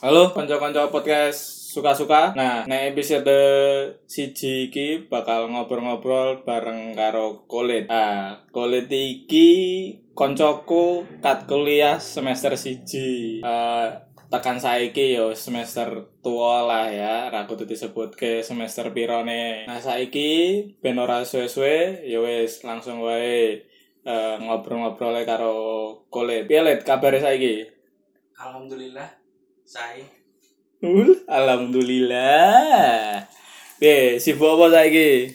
Halo kanca-kanca podcast suka-suka. Nah, nek episode siji iki bakal ngobrol-ngobrol bareng karo Kolit. Ah, Kolit iki koncoku kat kuliah semester siji. Eh, tekan saiki yo semester tua lah ya ra kudu disebut ke semester pirone nah saiki ben ora suwe-suwe ya wis langsung wae eh, ngobrol-ngobrol ae karo Kolit piye Lit kabare saiki Alhamdulillah saya Uh, alhamdulillah. Be, sibuk apa saiki?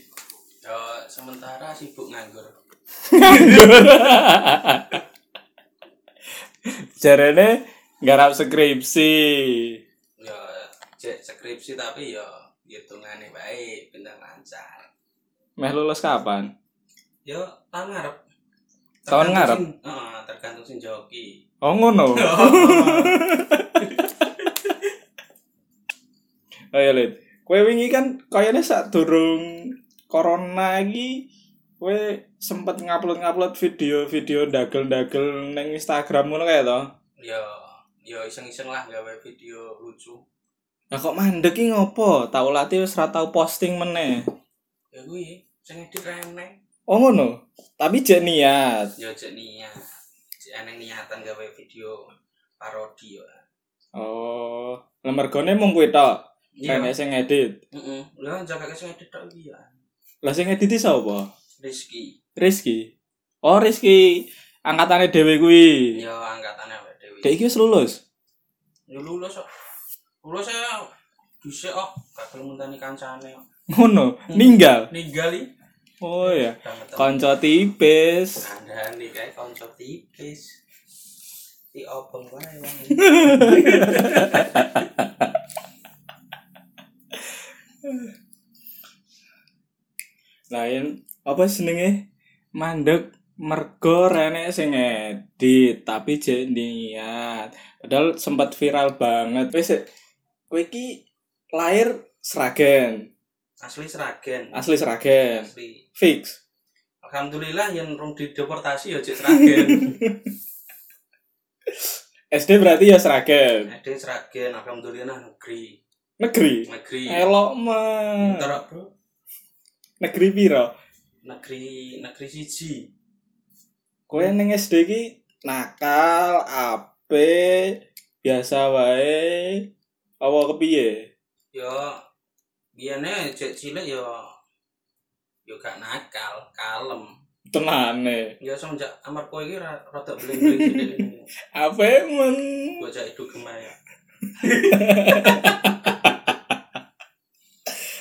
yo Ya, sementara sibuk nganggur. Jarane nggarap skripsi. Yo Ya, cek skripsi tapi yo hitungane baik bener lancar. Meh lulus kapan? Yo tahun ngarep. Tahun Tergantung ngarep? sin- Heeh, tergantung sin joki. Oh ngono. Ayo Lid. Kowe wingi kan kayane sak durung corona iki kowe sempet ngupload-ngupload video-video dagel-dagel neng Instagram ngono kae to. Yo yo Ya, iseng-iseng lah gawe video lucu. Lah kok mandek iki ngopo? Tau lati wis ra tau posting meneh. Ya kuwi sing edit reneng. Oh ngono. Tapi jek niat. Yo Ya, cek niat. Cek eneng niatan gawe video parodi yo. Oh, lemergone mung kuwi tok. Kan nek sing edit. Ya, Heeh. Lha jaga sing edit tok iki ya. Lah sing edit iki sapa? Rizki. Rizky. Oh, Rizky angkatane dhewe kuwi. Yo Ya, angkatane awake dhewe. Dek iki wis lulus. Ya lulus kok. Lulus saya dhisik kok gak gelem ngenteni kancane kok. Ngono, ninggal. Ninggali. Oh iya. Kanca Kanca tipis. kandhane kae kanca tipis. Ti obong wae wong. Lain apa senenge? Mandek mergo rene sing edit tapi jek niat. Padahal sempat viral banget. Wis kowe iki lahir Sragen, Asli Sragen. asli Sragen. Asli. Fix. Alhamdulillah yang rung dideportasi ya cek Sragen. SD berarti ya Sragen. Ada Sragen alhamdulillah negeri. Negeri. Negeri. Elok mah. Entar Bro. Negeri piro? Negeri negeri siji. Kowe ning SD ki nakal, apik, biasa wae. Apa kepiye? Yo biyane cek cilik yo yo gak nakal, kalem. Tenane. Ya semenjak amarga iki ra- rada bling-bling Apik men. bocah itu gemaya.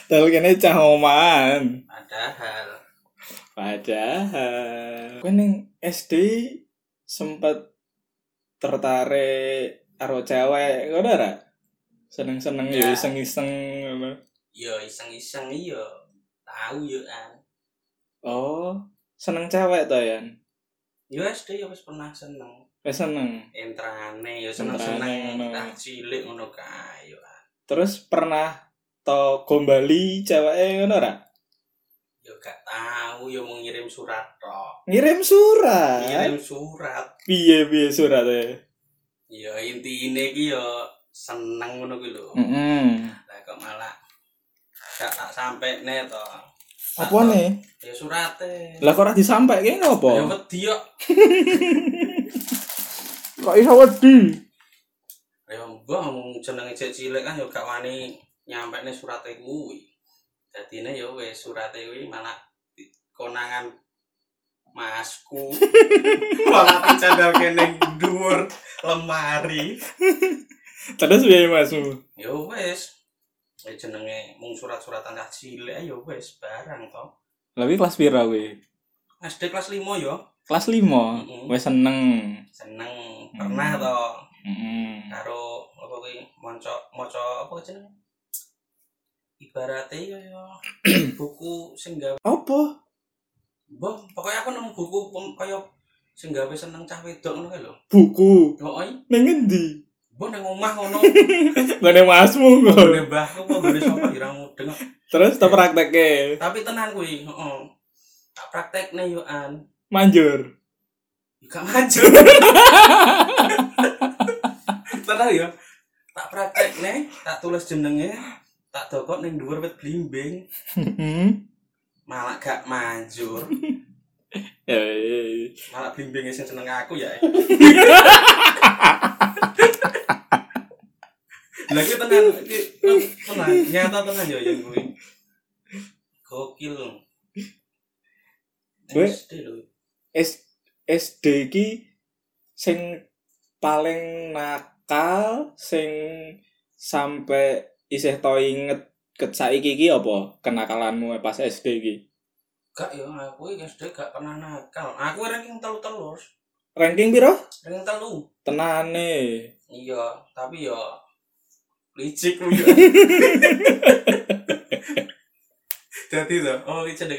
Dal kene cah omahan. Padahal Padahal kowe ning SD sempat tertarik karo cewek ngono ra? Seneng-seneng ya Ya. iseng-iseng ngono. ya iseng-iseng iya tahu yo an. Oh, seneng cewek to ya? Yo SD yo wis pernah seneng. Wes Eh, seneng. Entrane yo Entrane, seneng-seneng ngono. tak cilik ngono kae yo. An. Terus pernah to gombali ceweke ngono ora? Yo gak tahu yo mau ngirim surat tok. Ngirim surat. Ngirim surat. Piye piye e? surate? Yo intine iki yo seneng ngono kuwi lho. Heeh. Lah kok malah gak tak sampe ne to. Apa nih? Ya surate. Lah kok ora disampaike Ya ngopo? wedi yo. Kok iso wedi? Ya mbah mung jenenge cek cilik kan yo gak wani nyampekne surate kuwi. Dadine yo wis surate kuwi malah di- konangan masku. malah dicandal kene dhuwur lemari. Terus piye Masmu? Yo wis Ya jenenge mung surat-suratan cah cilik ae yo wis barang to. Lah kuwi kelas pira kuwi? SD kelas 5 yo Kelas 5. Mm-mm. Wes seneng. seneng pernah Oh, Hmm. to Heeh. karo apa kuwi maca maca apa jenenge? Ibarate yo buku sing gawe Apa? Mbah, pokoknya aku nemu buku pem- kaya sing gawe seneng cah wedok ngono kae lho. Buku. Heeh. Ning endi? Mbah nang omah ngono. Gone Masmu kok. Gone mbahku kok gone sapa ira mudeng. Terus tak praktekke. Tapi tenan kuwi, heeh. Tak praktekne yo an. Manjur. Gak maju. tenan yo. tak praktek nih tak tulis jenenge tak dokok ning dhuwur wit blimbing malah gak manjur ya, ya, ya. malah blimbing sing seneng aku ya lagi tenan iki tenan nyata tenan yo yang kuwi gokil lho Gue- SD lho S- SD ki sing paling nakal sing sampai isih tau inget ket saiki ki apa kenakalanmu pas SD ki gak yo aku iki SD gak pernah nakal aku ranking telu telus ranking piro ranking telu tenane iya tapi yo licik lu yo jadi tuh oh licik deh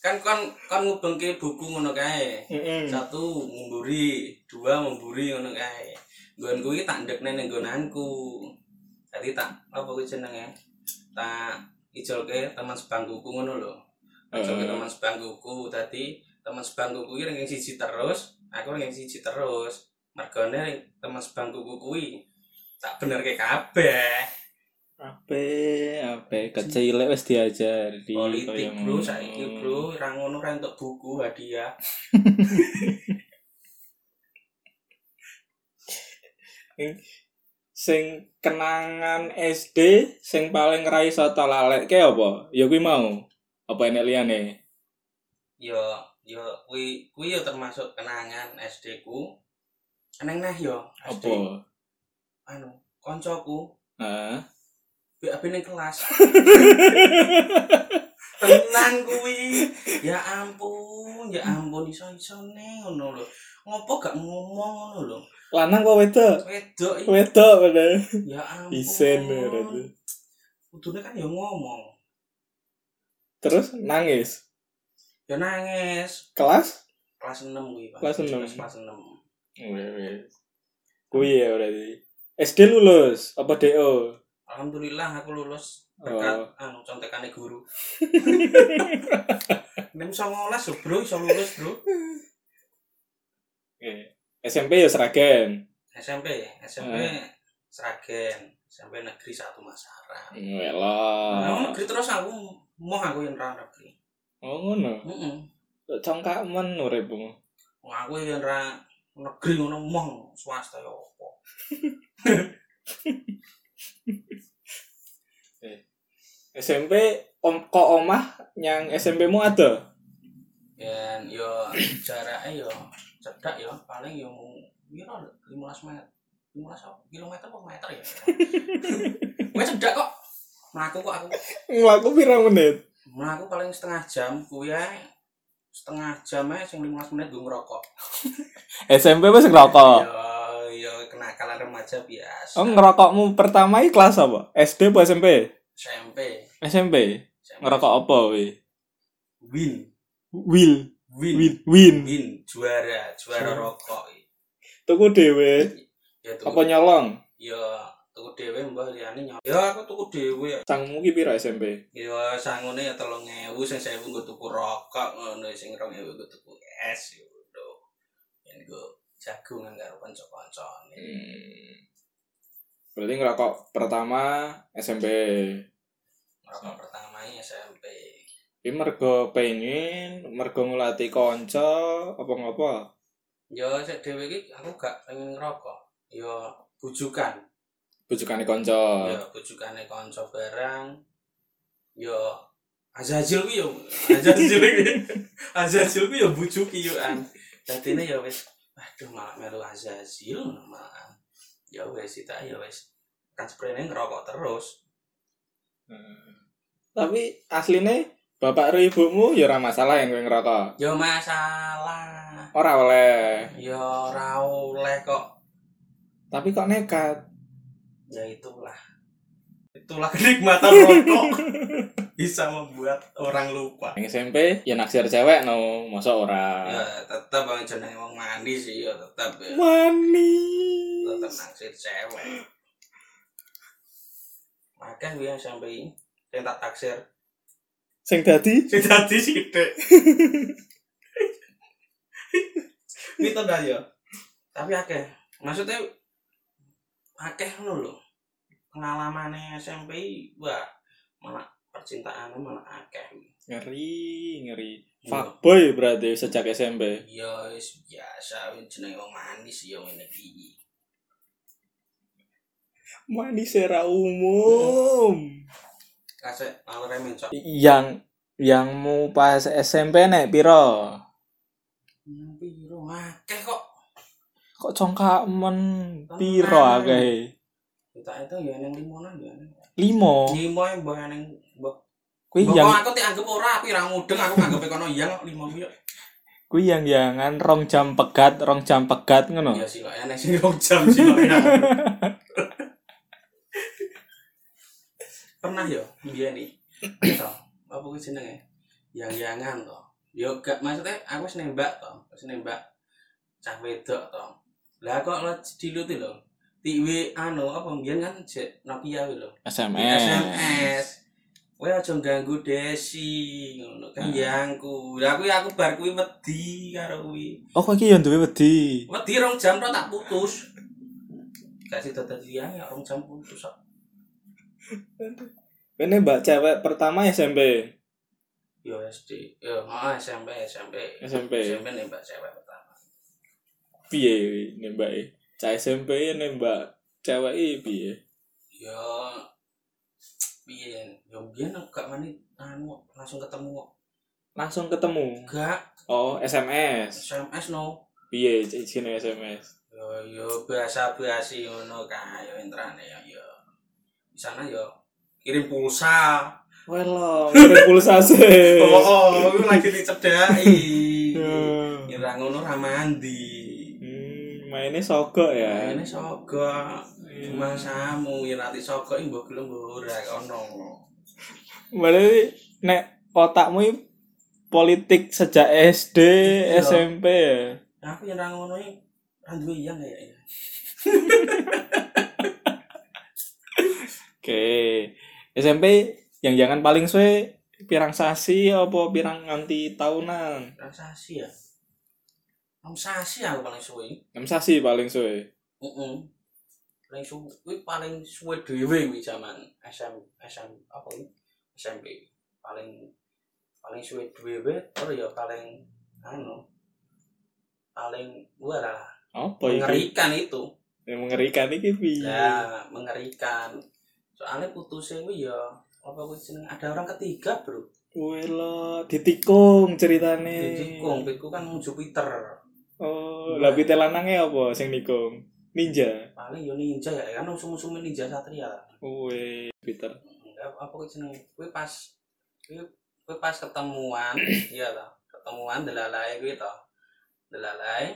kan kon kon ngubengke buku ngono kae Heeh. satu memburi dua memburi ngono kae nggon kuwi tak ndekne ning nggonanku dadi tak apa kuwi jenenge tak ijolke teman sebangkuku ngono lho ijolke Eh. teman sebangkuku dadi teman sebangkuku kuwi ring siji terus aku ring siji terus mergone ring teman sebangkuku kuwi tak benerke kabeh ape ape kecil wis diajari politik kaya bro ngono. saiki bro ra ngono ra entuk buku hadiah sing kenangan SD sing paling ra iso tak lalekke apa ya kuwi mau apa enek liyane yo yo kuwi kuwi yo termasuk kenangan SD ku eneng neh yo apa SD anu koncoku Heeh. BAB ning kelas tenan kuwi ya ampun ya ampun iso isone ngono lho ngopo gak ngomong ngono lho lanang apa wedok wedok iki wedok bener ya ampun isen berarti kudune kan yo ngomong terus nangis ya nangis kelas kelas 6 kuwi Pak Kelas enam. kelas 6 kuwi ya berarti SD lulus apa DO Alhamdulillah aku lulus Oh. berkat anu contekane guru. Nem 19 lho, Bro, iso lulus, Bro. SMP ya Seragen SMP, SMP Sragen, SMP Negeri 1 Masaran. Nah, Welo. negeri terus aku mau aku yang ra negeri. Oh ngono. Heeh. Kok congkak men uripmu. aku yang ra negeri ngono mau swasta ya opo. SMP om kok omah yang SMP mu ada? Dan yo ya jaraknya yo cedak yo paling yo mau piro lho, 15 meter. 15 apa? kilometer apa meter ya? Gue cedak kok. Melaku kok aku Ngelaku pirang menit. Nah, aku paling setengah jam kuwi ae setengah jam ae sing 15 menit gue ngerokok. SMP wis ngerokok. Yo yo kenakalan remaja biasa. Oh ngerokokmu pertama iki kelas apa? SD apa SMP? SMP. SMP. SMP. Ngerokok apa we? Win. Will, Win. Win. win, win. juara, juara Juara. rokok. Tuku dhewe Ya tuku. apa nyolong? Yo tuku dhewe mbah liyane nyok. Yo aku tuku dhewe. Sangmu ki piro SMP? Yo sangune ya 3000 sing 1000 gue tuku rokok ngono sing 2000 gue tuku es yo. Yen gue jagungan karo kanca-kancane. Hmm. Berarti ngerokok pertama SMP. Rokok Hmm. pertama SMP. Ini mergo pengen, mergo ngulati konco, apa ngapa? Ya sik dhewe iki aku gak pengen ngerokok. Ya bujukan. Bujukane konco. Ya bujukane kanca bareng. Ya Azazil kuwi ya Azazil kuwi. Azazil kuwi ya bujuki yo an. Dadine ya wis waduh malah melu Azazil malah. Ya wis kita ya wis kan sprene ngerokok terus. Hmm. Tapi asline bapak karo ibumu ya ora masalah yang kowe ngerokok. Ya masalah. Ora oleh. Ya ora oleh kok. Tapi kok nekat? Ya itulah. Itulah kenikmatan rokok bisa membuat orang lupa. Yang SMP ya naksir cewek no, masa ora. ya tetap bang jenenge wong mandi sih ya tetap ya tetap Manis. naksir cewek makanya gue yang sampai yang tak taksir Sing dadi sih tadi sih gede itu dah ya tapi akeh maksudnya akeh ngono lho. Pengalamane SMP wah malah percintaane malah akeh. Ngeri, ngeri. Iya. Fuckboy berarti sejak SMP. Ya wis biasa wis jenenge wong manis ya ngene iki. Manis era umum. Kasek alere mencok. Yang yang mau pas SMP nek piro? Piro akeh kok. Kok congkak men piro akeh? Kita itu ya neng limonan ya. neng. Limo. Limo yang mbah neng mbah. Kuwi Mbah, Oh. yang kok aku dianggap ora aku ora mudeng aku nganggep kono iya kok limo kuwi. kok. kuwi yang yangan rong jam pegat, rong jam pegat ngono. Ya silok ya neng sing rong jam silok ya. Pernah ya mbiyen nih. Gitu. Apa kuwi jenenge? Yang-yangan to. Ya gak maksudnya aku wis nembak to, wis nembak cah wedok to. Lah kok lo diluti lho. Tiwi anu apa mbiyen kan jek Nokia kuwi lho. SMS. SMS. Kowe aja ganggu Desi ngono kan Hmm. yangku. Lah kuwi aku bar kuwi wedi karo kuwi. Oh, kok iki yo duwe wedi. Wedi rong jam tok tak putus. Gak sida dadi ya rong jam putus. kok. Ini mbak cewek pertama SMP. Yo SD, yo oh, SMP, SMP. SMP. SMP nih Mbak cewek pertama. Piye ini mbak? Cah SMP ini mbak cewek ini piye? Yo piye? Yo biyen aku gak mani anu langsung ketemu kok. Langsung ketemu. Gak Oh, SMS. SMS no. Piye izin SMS? Yo yo biasa-biasa ngono kae yo entrane yo yo. Di sana yo kirim pulsa. Welong, ada pulsa sih. Oh, oh, aku lagi dicedai. Hmm, Ya ra ngono ra mandi. mainnya sogok ya. Hmm. Ini soga cuma samu ya nanti soga ini mbok gelem mbok ora ono. Berarti nek otakmu ini politik sejak SD, Iya. SMP ya. Aku yang ra ngono iki ra duwe iyang kayaknya. Oke. SMP yang jangan paling suwe pirang sasi apa pirang nganti tahunan? Ra sasi ya. Om sasi aku paling suwe. Enam sasi paling suwe. Heeh. Paling suwe kuwi paling suwe dhewe kuwi jaman SM SM apa kuwi? SMP. Paling paling suwe dhewe terus ya paling anu paling gua lah Apa iki? mengerikan itu Yang mengerikan iki piye? ya mengerikan soalnya putusnya gue ya apa gue jeneng ada orang ketiga bro Welo, ditikung ceritane. jadi kong piku kan mau Jupiter Oh, lah pite lanange apa sing nikung? Ninja. paling yo ninja ya kan musuh musuh ninja satria Uwe, Peter. enggak Eh, apa gue jeneng gue pas gue, gue pas ketemuan iya toh ketemuan delalai gue toh delalai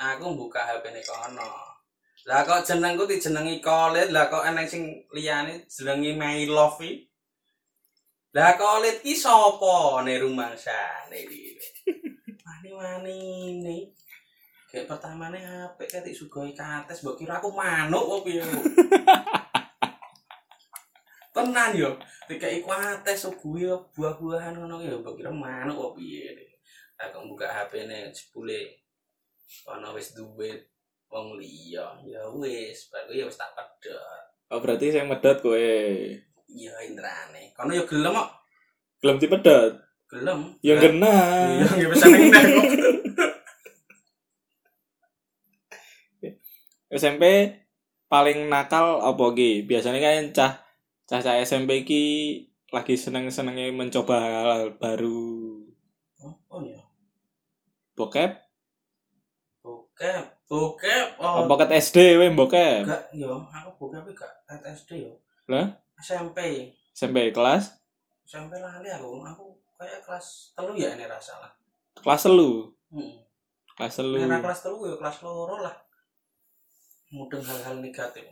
aku buka hp nih kono lah kok jenengku dijenengi kolit lah kok eneng sing liyane jenengi my love iki. lah kolit ki sapa ne rumangsane iki wani wani ini kayak pertama nih hp kayak sugoi kates mbok kira aku manuk apa piye tenan yo tiga iku ates sugoi buah-buahan ngono ki yo mbok kira manuk apa piye lah kok buka hp ne jebule ana wis duwe wong liya ya wis bar kuwi ya wis tak pedot Oh, berarti saya medot kowe. ya intrane kono yo gelem kok Belum dipedot. gelem Ya gelem genah. ya bisa ning nek kok Iya. SMP paling nakal apa ki? Biasanya kan cah cah cah SMP ki lagi seneng senengnya mencoba hal, -hal baru. oh ya Bokep? bokep bokep Oh. oh Pocket SD we bokep. gak yo aku bokep iki gak tet SD yo Lah? SMP SMP kelas SMP lali aku aku kayak kelas telu ya ini rasa lah kelas lu hmm. kelas lu. Nek ra kelas telu ya kelas loro lah mudeng hal-hal negatif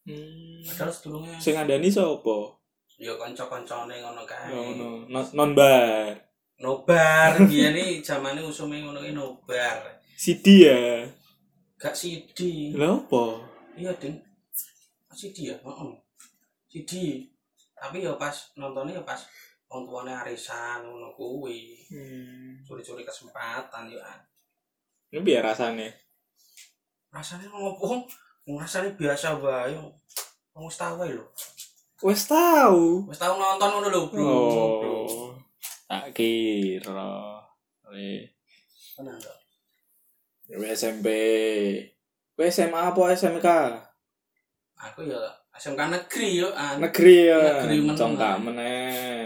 Hmm. padahal sedurunge Sing andani sopo? ya kanca-kancane ngono kae Oh, no. No- non bar. nobar dia nih zaman ini usume ngono ki nobar CD ya. gak CD Lha opo? iya ding Oh, CD ya heeh CD tapi ya pas nontonnya ya pas wong tuane arisan ngono kuwi Hmm. curi-curi kesempatan yo Ini biar rasane. rasanya ngopo ngrasani biasa wae. Wong wis tau wae lho. Wes tahu. Wis tau nonton ngono lho, Bro. Bro. Oh. Tak kira. Eh, Tenang, Bro. kowe SMP. Kowe SMA apa SMK? Aku ya SMK negeri yo, ah, an. Negeri ya. Negeri meneng. Congkak meneh.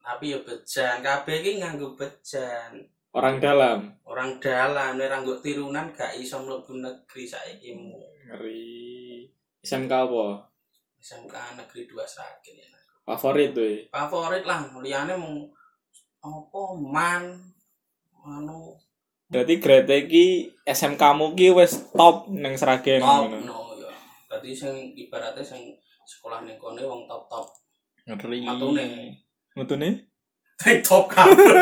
tapi yo bejan. Kabeh iki nganggo bejan. Orang dalam. Orang dalan, ora nggo tirunan gak iso mlebu negeri saiki mu. Ngeri. SMK apa? SMK negeri 2 Sragen ya. Favorit tuh. Favorit lah, liyane mung apa man anu Berarti grade iki SMK mu ki wis top neng Sragen top ngono. no ya. Dadi sing ibaratnya sing sekolah ning kene wong top-top. Ngeri. Metune. Metune? TikTok kabeh.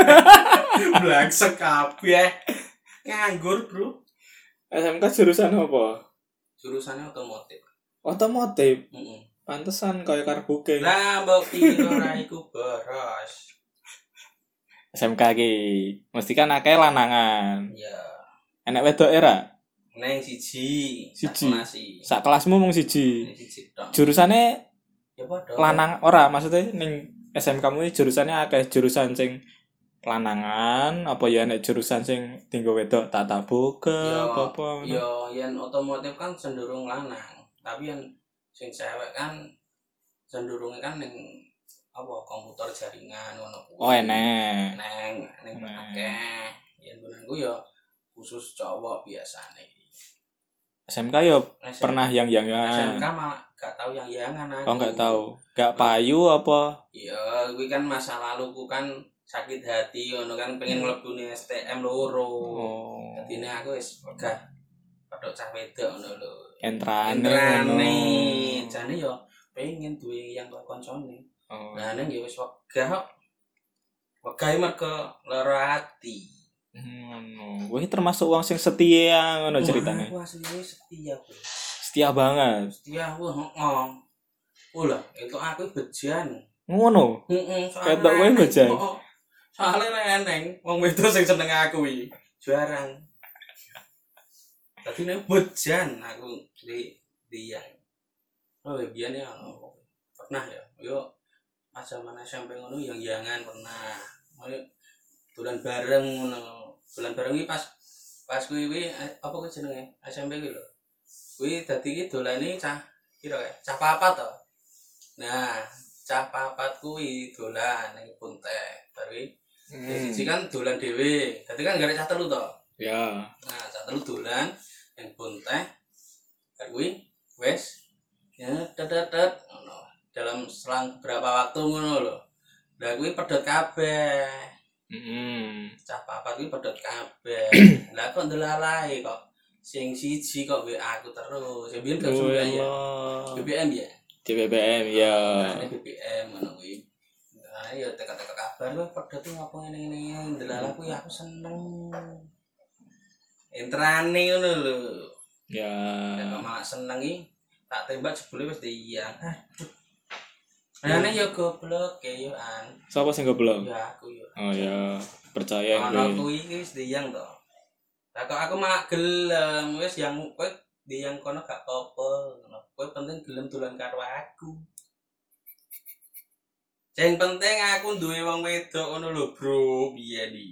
Blangsek kabeh. Nganggur, Bro. SMK jurusan apa? Jurusannya otomotif. Otomotif. Heeh. Pantesan kaya karbuke. Lah mbok piro ra iku boros. SMK ki mesti kan akeh lanangan. Ya, Enek wedok era? neng siji. Siji. Masih. Sak kelasmu mung siji. Siji tok. Jurusannya Ya padha. lanang ora, maksudnya ning SMK kamu jurusannya akeh jurusan sing lanangan apa ya enek jurusan sing tinggo wedok tata boga Ya, apa apa. ngono. Yo, yang otomotif kan cenderung lanang, tapi yang sing cewek kan cenderungnya kan neng apa komputer jaringan ngono kuwi. Oh enek. Neng neng Neng. akeh. Yang gunanku yo khusus cowok biasane. SMK yo SM ya pernah yang SMK yangan. malah gak tahu yang yangan aku. Oh enggak tahu. Enggak payu apa? Iya, kuwi kan masa lalu ku kan sakit hati ngono kan pengen mlebu ning STM loro. Hmm. Oh. Dadi nek aku wis gak padha cah wedok ngono lho. Entrane. Entrane, ngono. jane yo pengen duwe yang kok koncone. Oh. Lah neng yo wis wegah. kok. Wegah iki mergo lara ati. Ngono. Wah, ini termasuk uang sing setia ngono ceritanya. Wah, aku asline setia, Bro. Setia banget. Setia wah ngong. Ulah, itu aku bejan. Ngono. Heeh, Ketok kowe bejan? Soale reneng, Oh, wong wedok sing seneng aku iki. Jarang. Tapi nek bejan aku di dia. Oh, ya, biyen ya oh, pernah ya. Yo pas zaman SMP ngono yang jangan pernah. Mulai dolan bareng ngono. Dolan bareng iki pas pas kuwi kuwi eh, apa kuwi jenenge? SMP kuwi lho. Kuwi dadi iki dolane cah kira ya, cah papat to. Nah, cah papat kuwi dolan ning Puntek. Tapi hmm. siji kan dolan dhewe. Dadi kan gak ada cah telu to. Ya. Nah, cah telu dolan ning Puntek. Bar kuwi wes ya tetetet ngono. Dalam selang beberapa waktu ngono lho. Lah kuwi pedot kabeh. Mm-mm. Cah papat kuwi pedot kabeh. Lah kok ndelalai kok sing siji kok WA aku terus. Ya biyen gak Oh, sembah ya. Allah. BBM ya. Di BBM ya. Nah, ini BBM ngono kuwi. Nah, ya teka-teka kabar lu padha tuh ngopo ngene-ngene, delalah kuwi aku seneng. Entrane ngono lho. Ya. Nek kok malah seneng iki tak tembak jebule wis diiang. Rene yo goblok e yo an. Siapa sing goblok? Yo aku yo. Oh ya. Percaya ya. Ono gue. kuwi iki wis diiang to. Lah kok aku malah gelem wis yang kowe diiang kono gak apa-apa. ngono. Kowe penting gelem dolan karo aku. Yang penting aku duwe wong wedok ngono lho, Bro. Piye di.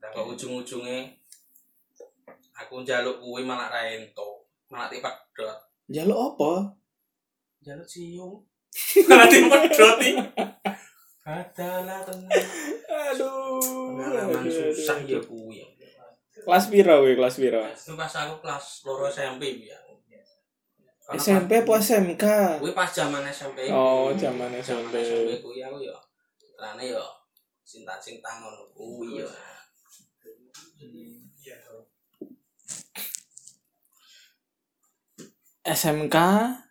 Lah kok ujung-ujunge aku njaluk kuwi malah ra ento. Malah dipedhot. Jaluk Ya apa? Njaluk siung. malah dipedhot iki. Adalah tenang. Aduh. Pengalaman susah ya kuwi. Kelas piro kowe? Kelas piro? Itu pas aku kelas loro SMP ya. SMP apa SMK? Kuwi pas zaman SMP. Oh, zaman Zaman SMP. SMP kuwi aku ya. Terane ya cinta-cinta ngono kuwi ya. SMK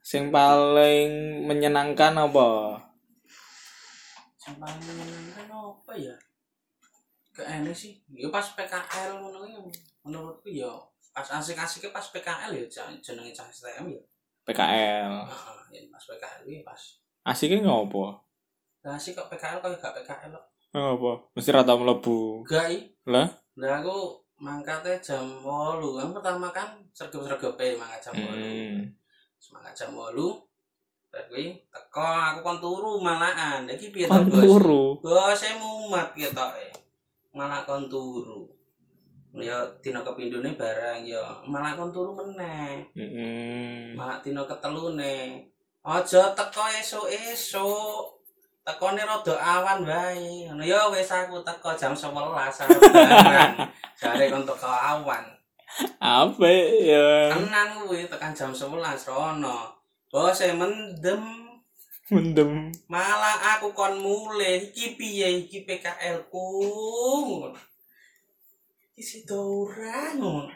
sing paling menyenangkan apa? Sing paling menyenangkan apa ya? Ke ini sih. Ya pas PKL ngono ya. Menurutku ya pas asik-asiknya pas PKL ya jen- jenenge cah STM ya. PKL. Heeh, ya pas PKL iki pas. Asiknya ngopo? Lah sih kok PKL kok gak PKL kok. Ngopo? Mesti rata mlebu. Gak i. Lah? Lah aku mangkatnya jam 8 kan pertama kan sergep-sergep e mangkat jam 8 Hmm. semangat jam 8 bar kuwi teko aku kon turu malahan iki piye to Kon bos turu. bos saya mumet ketoke malah kon turu ya dina kepindhone barang ya malah kon turu meneh Mm-mm. Mak dina ketelune. Aja teko esuk-esuk. Tekone rada awan wae. Ngono ya wis aku teko jam 11 aku barang. Jare kon teko awan. Apa ya? Tenan kuwi tekan jam 11 rono. Bose mendem Mendem. malah aku kon mulih iki piye iki PKL ku. ngono. Iki sido ora ngono.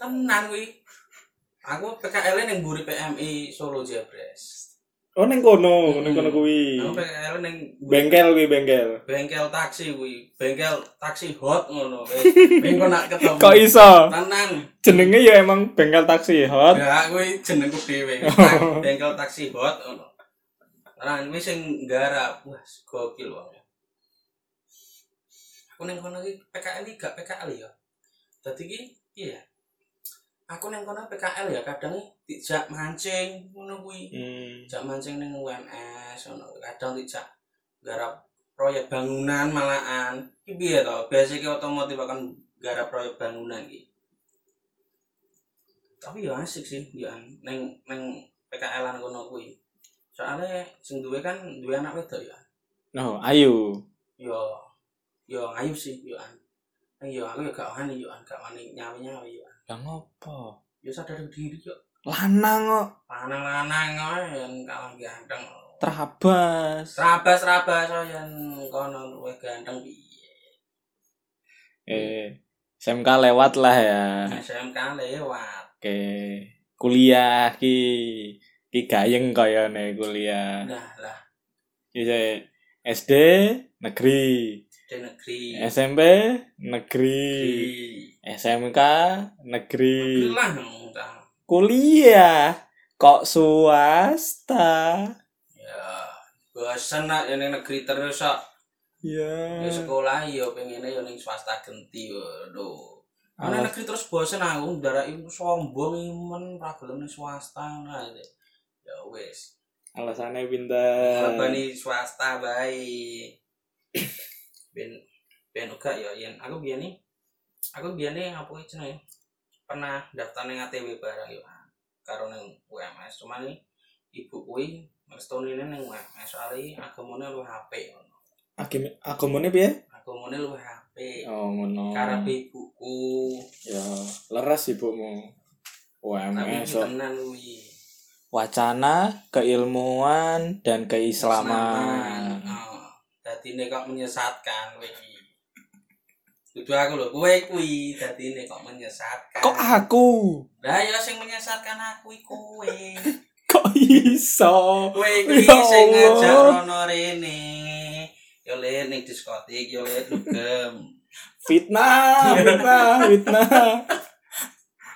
Tenan kuwi. Aku PKL ning mburi PMI Solo Jebres. Oh neng kono, neng kono Hmm. kuwi. Aku PKL ning Bengkel kuwi bengkel. bengkel taksi kuwi, bengkel taksi hot ngono. Wis, ben kok nak ketemu. Kok iso? Tenan. Jenenge ya emang bengkel taksi hot. Ya kuwi jenengku dhewe. Ta- Bengkel taksi hot ngono. Tenan kuwi sing nggarap. Wah, gokil wae. Aku ning kono iki PKL iki gak PKL ya. Dadi iki iya. Aku ning kono PKL ya kadang dijak mancing ngono kuwi. Hmm. jak mancing ning UMS ngono kadang dijak garap proyek bangunan malahan iki piye to biasa ki otomotif akan garap proyek bangunan iki tapi ya asik sih ya neng neng PKL an kono kuwi soalnya sing duwe kan duwe anak wedok ya No, Nah, ayo. yo yo ayu ya sih yo an neng yo aku ya gak wani yo an gak wani nyawi nyawi yo an Lah ngopo? yo sadar diri yo Lanang kok lanang-lanang ya ae yang kalah ganteng terabas. Serabas serabas oh yang kono luwe ganteng piye. Eh, SMK lewat lah ya. SMK lewat. Oke. Kuliah ki ki gayeng kaya nih kuliah. Nah lah Ki saya SD negeri, di negeri. SMP negeri, Negeri. SMK negeri, Negeri lah entah. kuliah kok swasta. Ya bosen lah yang ning negeri terus kok. Ya. Ya sekolah ya pengennya ya ning swasta genti lho. Ana Alas- negeri terus bosen aku ndarak iku sombong imen ra gelem ning swasta nah. Ya wis. alasannya pinter. Lebani swasta bae. ben ben uga ya yen aku biyen nih aku biyen nih apa iki jenenge pernah daftar ning ATW barang yo karo ning UMS cuman nih ibu kuwi mestoni ning UMS soalé agamane lu HP ngono Agim- agamanya piye? agamane lu HP Oh, ngono. karep ibuku Ya, leres ibumu. tapi UMS. iki tenan kuwi wacana, keilmuan, dan keislaman. Oh, dadi nek kok menyesatkan kowe iki. Kudu aku lho, kowe kuwi dadi nek kok menyesatkan. Kok aku? Lah ya sing menyesatkan aku iki kowe. Kok iso? Kowe iki Ya sing Allah. ngajak rono rene. Yo le ning diskotik, yo le dugem. Fitnah, fitnah, fitnah.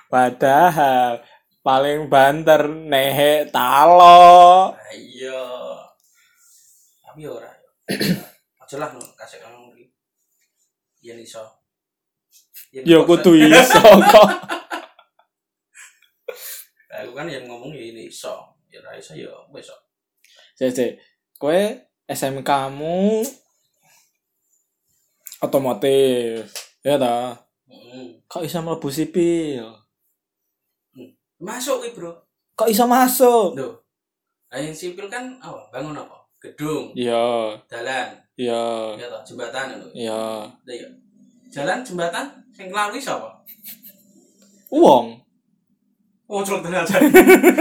Padahal paling banter nehe talo. Lah iya. Tapi ya ora. Aja lah no, kasih kamu iki. Yen iso. Yen Ya kuasa- kudu iso kok. Lah, Aku kan yang ngomong ya ini iso. Ya ra iso ya wis iso. Cek, cek. Kowe SMK mu otomotif. Ya ta? Mm. Kok iso mlebu sipil? Masuk kuwi, Bro. Kok iso masuk? Lho. Lah yang sipil kan apa? Bangun apa? Gedung, Iya, dalan, iya, ya toh, jembatan ngono. iya. Lah iya. Jalan jembatan sing nglalui sapa? Uang. Oh, celok derajat.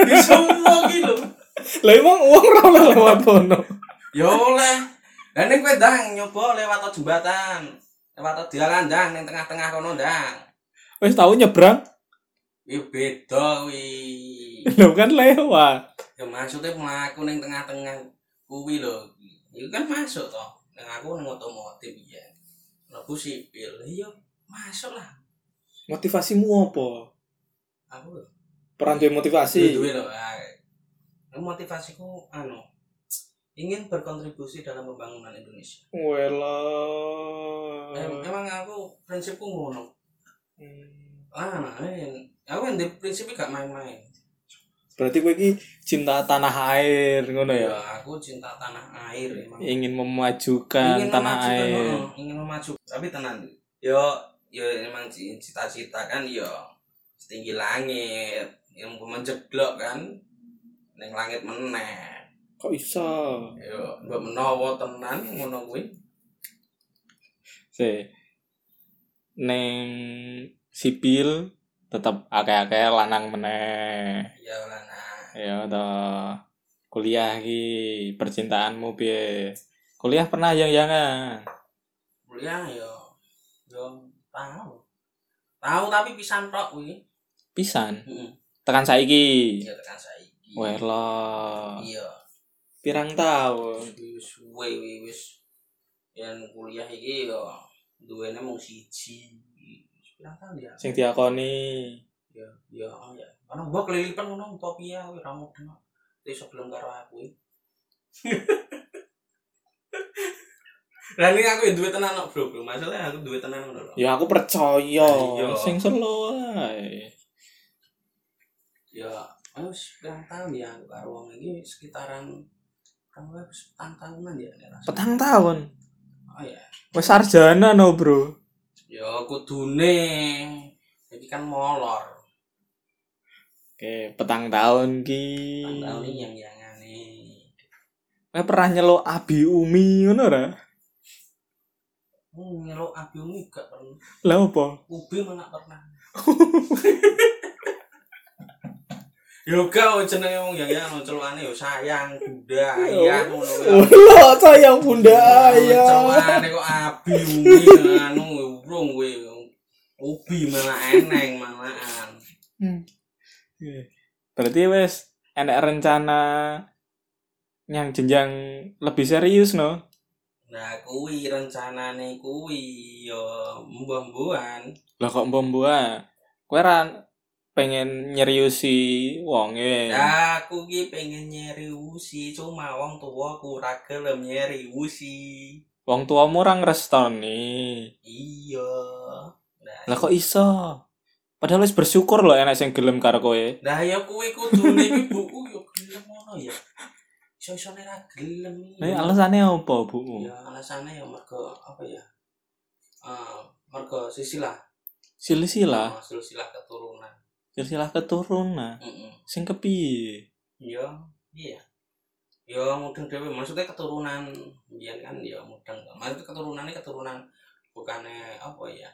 Di semua ki lho. Lah emang uang ora oleh lewat kono. Ya oleh. Lah ning kowe ndang nyoba lewat tol jembatan. Lewat tol dalan ndang ning tengah-tengah kono ndang. Wis tau nyebrang, Iki beda kuwi. lho kan lewat. Ya maksudnya mlaku ning tengah-tengah kuwi lho. Iku kan masuk toh. Ning aku ning otomotif ya. Mlebu sipil. Lah Iya, masuk lah. Motivasimu apa? Aku Peran duwe motivasi. duwe lho. ah. Aku motivasiku anu. ingin berkontribusi dalam pembangunan Indonesia. Wela. Em- emang aku prinsipku ngono. Hmm. Ah, en- aku yang di prinsipnya gak main-main. Berarti kowe iki cinta tanah air ngono ya. aku cinta tanah air emang. Ingin memajukan Iya. ingin tanah memajukan, air. heeh, ingin memajukan tapi tenan yo yo emang ci- cita-cita kan yo setinggi langit yang menjeglok kan neng langit meneh Kok iso? yo mbok menawa tenan ngono kuwi Se. Neng sipil tetap akeh-akeh lanang meneh. ya lah nah Ya toh. Kuliah iki percintaanmu piye? Kuliah pernah yang-yangan. kuliah yo yo Ya, tahu tahu tapi pisan tok kuwi Pisan. Heeh. Tekan saiki. iya tekan saiki Wela. iya Pirang tahun. wis suwe kuwi, wis yang kuliah iki yo duwene mung siji pirang tahun ya Sing diakoni ya ya oh ya karena gua kelilipan ngono utopia wih ramu kena itu sebelum karo aku wih. lah ini aku ya duit tenan kok, bro bro masalahnya aku duit tenan ngono lho Ya aku percaya. Iya. Sing selo ae. ya ayo wis pirang tahun ya aku karo wong iki sekitaran kan gue petang tahunan ya nek rasa. Petang tahun. oh ya Wes sarjana no, Bro. ya kudune jadi kan molor Oke, petang tahun ya. ki. Hmm. petang tahun ini yang yang aneh Eh, pernah nyeluk abi umi ngono ora? Hmm, ngelok abi umi gak pernah. Lah opo? Ubi mana pernah. Yoga jenenge wong yang ya celukane yo sayang bunda ayah ngono ya. Lho, sayang bunda ya. ayah. Celukane kok abi umi anu urung kowe. Ubi malah eneng malahan. Berarti wes enek rencana yang jenjang lebih serius no. Nah kuwi rencanane kuwi ya, yo mbuh-mbuhan. Lah kok mbomboa? Kowe ra pengen nyeriusi wonge. Ya, aku ki pengen nyeri usi cuma wong tuaku ora gelem nyeri usi. Wong tuamu ra ngrestoni. Iya. Nah, Lah kok iso? Padahal wis bersyukur loh enak sing gelem karo kowe. Nah, ya kuwi kudune iki buku yo gelem ngono ya. Iso-isone ra gelem. Nek Eh, alasane apa, Bu? ya alasane ya mergo apa ya? Eh, mergo silsilah. Silsilah, Eh, silsilah keturunan. silsilah keturunan. Heeh. Sing kepiye? Iya, iya. Ya mudeng dhewe maksudnya keturunan biyen kan ya mudeng. Maksudnya keturunannya keturunan bukannya apa ya?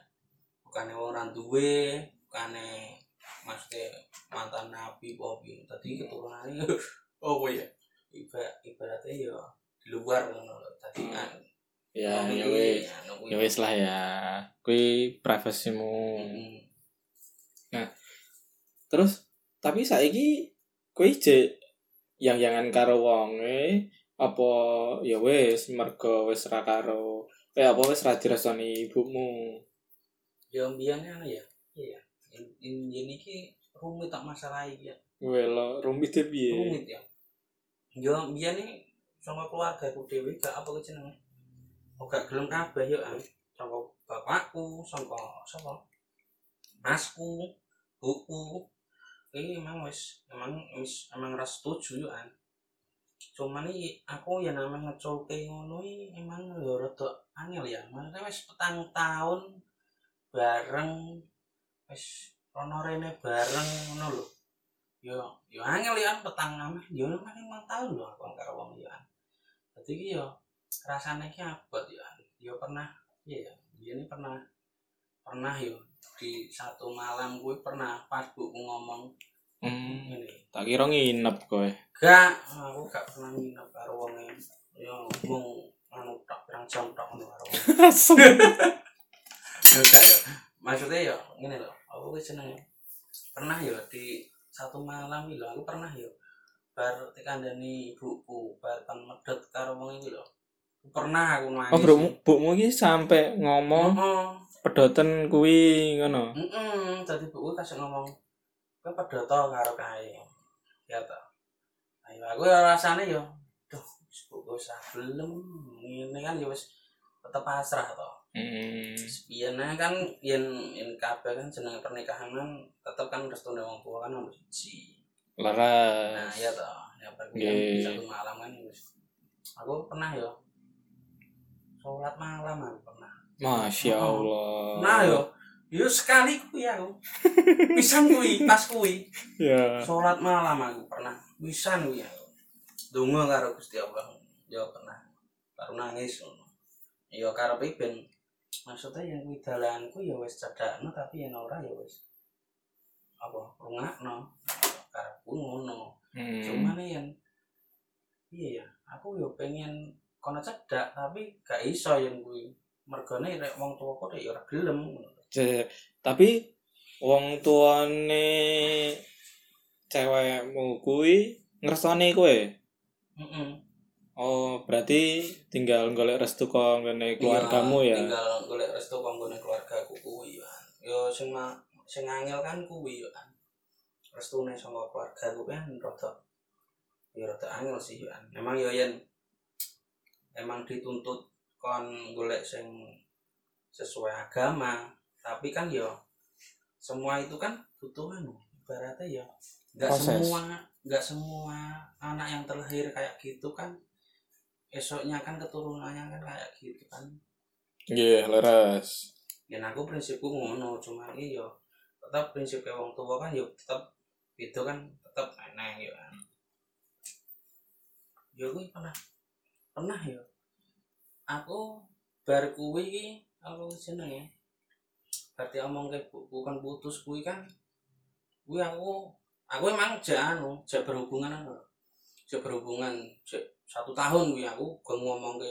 Bukannya orang duwe, bukannya maksudnya mantan nabi popi. Hmm. Tadi keturunannya oh ya. Iba ibaratnya ya di luar ngono lho. Tadi kan Hmm. Ya, wong ya iki, wis. anu kuwi. Ya wis lah ya. Kuwi privasimu. Mm-mm. Hmm. Terus tapi saiki kowe je yang-yangan karo wonge apa ya wis mergo wis ra karo eh apa wis ra dirasani ibumu. Ya biyen anu ya. Iya. Ini iki rumit tak masalah iki. ya. Welo rumit e piye? rumit ya yo biyen nih sama keluarga aku dewi gak apa keceneng oh gak gelem kabeh yo an sama bapakku sama sama masku buku ini emang wis emang wis emang ras setuju yo an cuman ini aku ya namanya ngecoke ngono iki emang yo rada angel ya maksudnya wis petang tahun bareng wis rono rene bareng ngono lho yo yo angel ya petang nama yo mana emang tahu loh aku nggak uang ya jadi ki yo rasanya ki abot ya yo pernah iya dia ini pernah pernah yo di satu malam gue pernah pas bu ngomong Hmm, ini tak kira nginep kowe. gak aku gak pernah nginep karo wong yo ngomong anu tak pirang jam tak ngono karo wong enggak ya maksudnya ya gini loh aku wis seneng ya. pernah ya di satu malam ini loh aku pernah ya bar dikandani ibuku bar kan medot karo wong iki loh pernah aku nangis Oh, bro, bukmu iki sampe ngomong heeh pedoten kuwi ngono. heeh dadi ibuku kasih ngomong kowe padha to karo kae ya ta ayo aku ya rasane ya duh ibuku wis ah, gelem ngene kan ya wis tetep pasrah to. Hmm. Yen kan yen yen kabeh kan jenenge pernikahan kan tetep kan restune wong tua kan nomor siji. Nah, Laras. iya toh. Ya Nggih. pergi satu malam kan wis. Aku pernah ya. Sholat malam aku pernah. Masya Oh. Allah. Nah yo, yo sekali kuwi aku. Pisan kuwi, pas kuwi. Ya. Sholat malam aku pernah. Pisan kuwi aku. Donga karo Gusti Allah. Yo pernah. Baru nangis ngono. Yo karepe ben maksudnya yang kuwi dalanku ya wis cedakno tapi yang ora ya wis apa rungakno. Karepku ngono. Hmm. cuman nih yang iya ya aku yo pengen kono cedak tapi gak iso yang gue mergane rek wong tua kok ya ora gelem Ce- tapi wong tuane cewekmu kuwi ngersoni kowe. Heeh. Oh, berarti tinggal golek restu kok ngene keluargamu ya. Iya, tinggal golek restu konggone keluarga aku kuwi yo yo sing ma- sing angel kan kuwi yo kan restune saka keluarga aku kan rada yo rada angel sih yo kan emang yo yen emang dituntut kon golek sing sesuai agama tapi kan yo semua itu kan butuh anu ibaratnya ya nggak Proses. semua nggak semua anak yang terlahir kayak gitu kan esoknya kan keturunannya kan kayak gitu kan Nggih, leres. dan aku prinsipku ngono cuma ini yo tetap prinsip wong tua kan yo tetap itu kan tetap eneng yo kan yo gue pernah pernah yo aku bar kuwi ki aku seneng ya berarti omong ke bukan putus kuwi kan kuwi aku aku emang jak anu jak berhubungan anu jak berhubungan jak satu tahun kuwi aku gue ngomong ke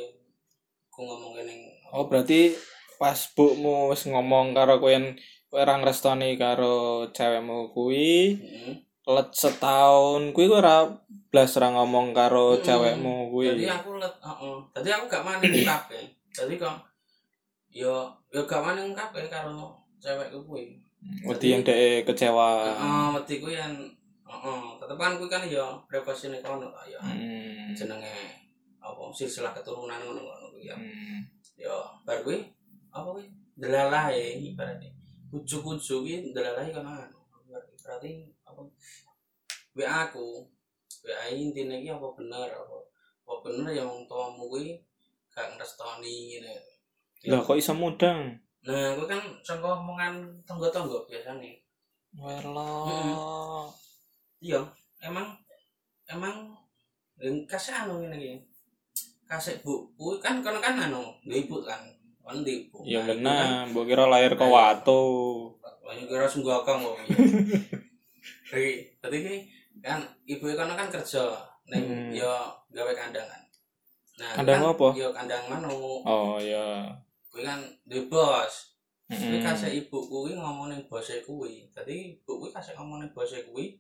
gue ngomong ke neng Oh, berarti pas bukmu wis ngomong karo kowe yen kowe ora ngrestoni karo cewekmu kuwi, Mm. let setahun kuwi kowe ora blas ora ngomong karo Mm. cewekmu kuwi. Jadi aku let, heeh. Tadi aku gak mani kabeh. Jadi kok yo yo gak mani kabeh karo cewekku kuwi. Wedi yang dhek kecewa. Heeh, wedi kuwi yang heeh, tetep kan kuwi kan yo privasine kono ta yo. Hmm. Jenenge apa silsilah keturunan ngono-ngono kuwi ya. Hmm. Yo bar kuwi apa kuwi delalah ya ibaratnya. Ujug-ujug kuwi delalah kono anu. Berarti apa WA aku WA intine iki apa bener apa apa bener ya wong tuamu kuwi gak ngrestoni ngene. Lah kok iso mudang? Nah, aku kan sangka omongan tangga-tangga biasane. Welah. Iya, emang emang yang kasih anu ngene iki. Kasih bu, kuwi kan kono kan anu, duwe ibu kan. Kono duwe ibu. Ya Nah, ibu kan- benar, mbok kira lahir kok watu. Wah, ini kira sunggakang kok. Jadi, berarti ini kan ibu kono kan kerja Hmm. ning yo gawe kandangan. Nah, Kandang kan, apa? Yo kandang manu. Oh ya. kuwi kan duwe bos kuwi Mm-mm. kasih ibu kuwi ngomong ning bose kuwi dadi ibu kuwi kasih ngomong ning bose kuwi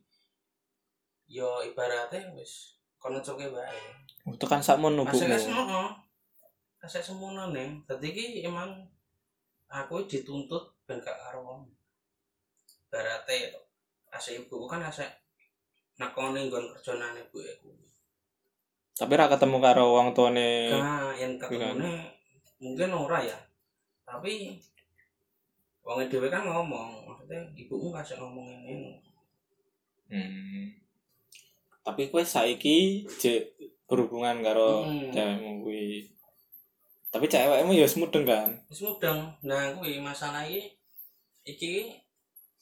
ya ibaratnya wis kono coke wae Oh, Tekan sakmu kasih kasih nubumu. heeh kasih semono ning dadi iki emang aku dituntut ben gak karo wong ibarate to kasih ibu kan kasih nekoni nggon kerjane ibu kuwi Tapi ra ketemu karo wong tuane. Nah, yang ketemunya mungkin ora ya. Tapi wong dhewe kan ngomong, maksudnya ibumu kasih ngomong ini. Hmm. Tapi kowe saiki jek berhubungan karo Hmm. cewekmu kuwi. Tapi cewekmu ya wis mudeng kan? Wis mudeng. Nah, kuwi masalah iki iki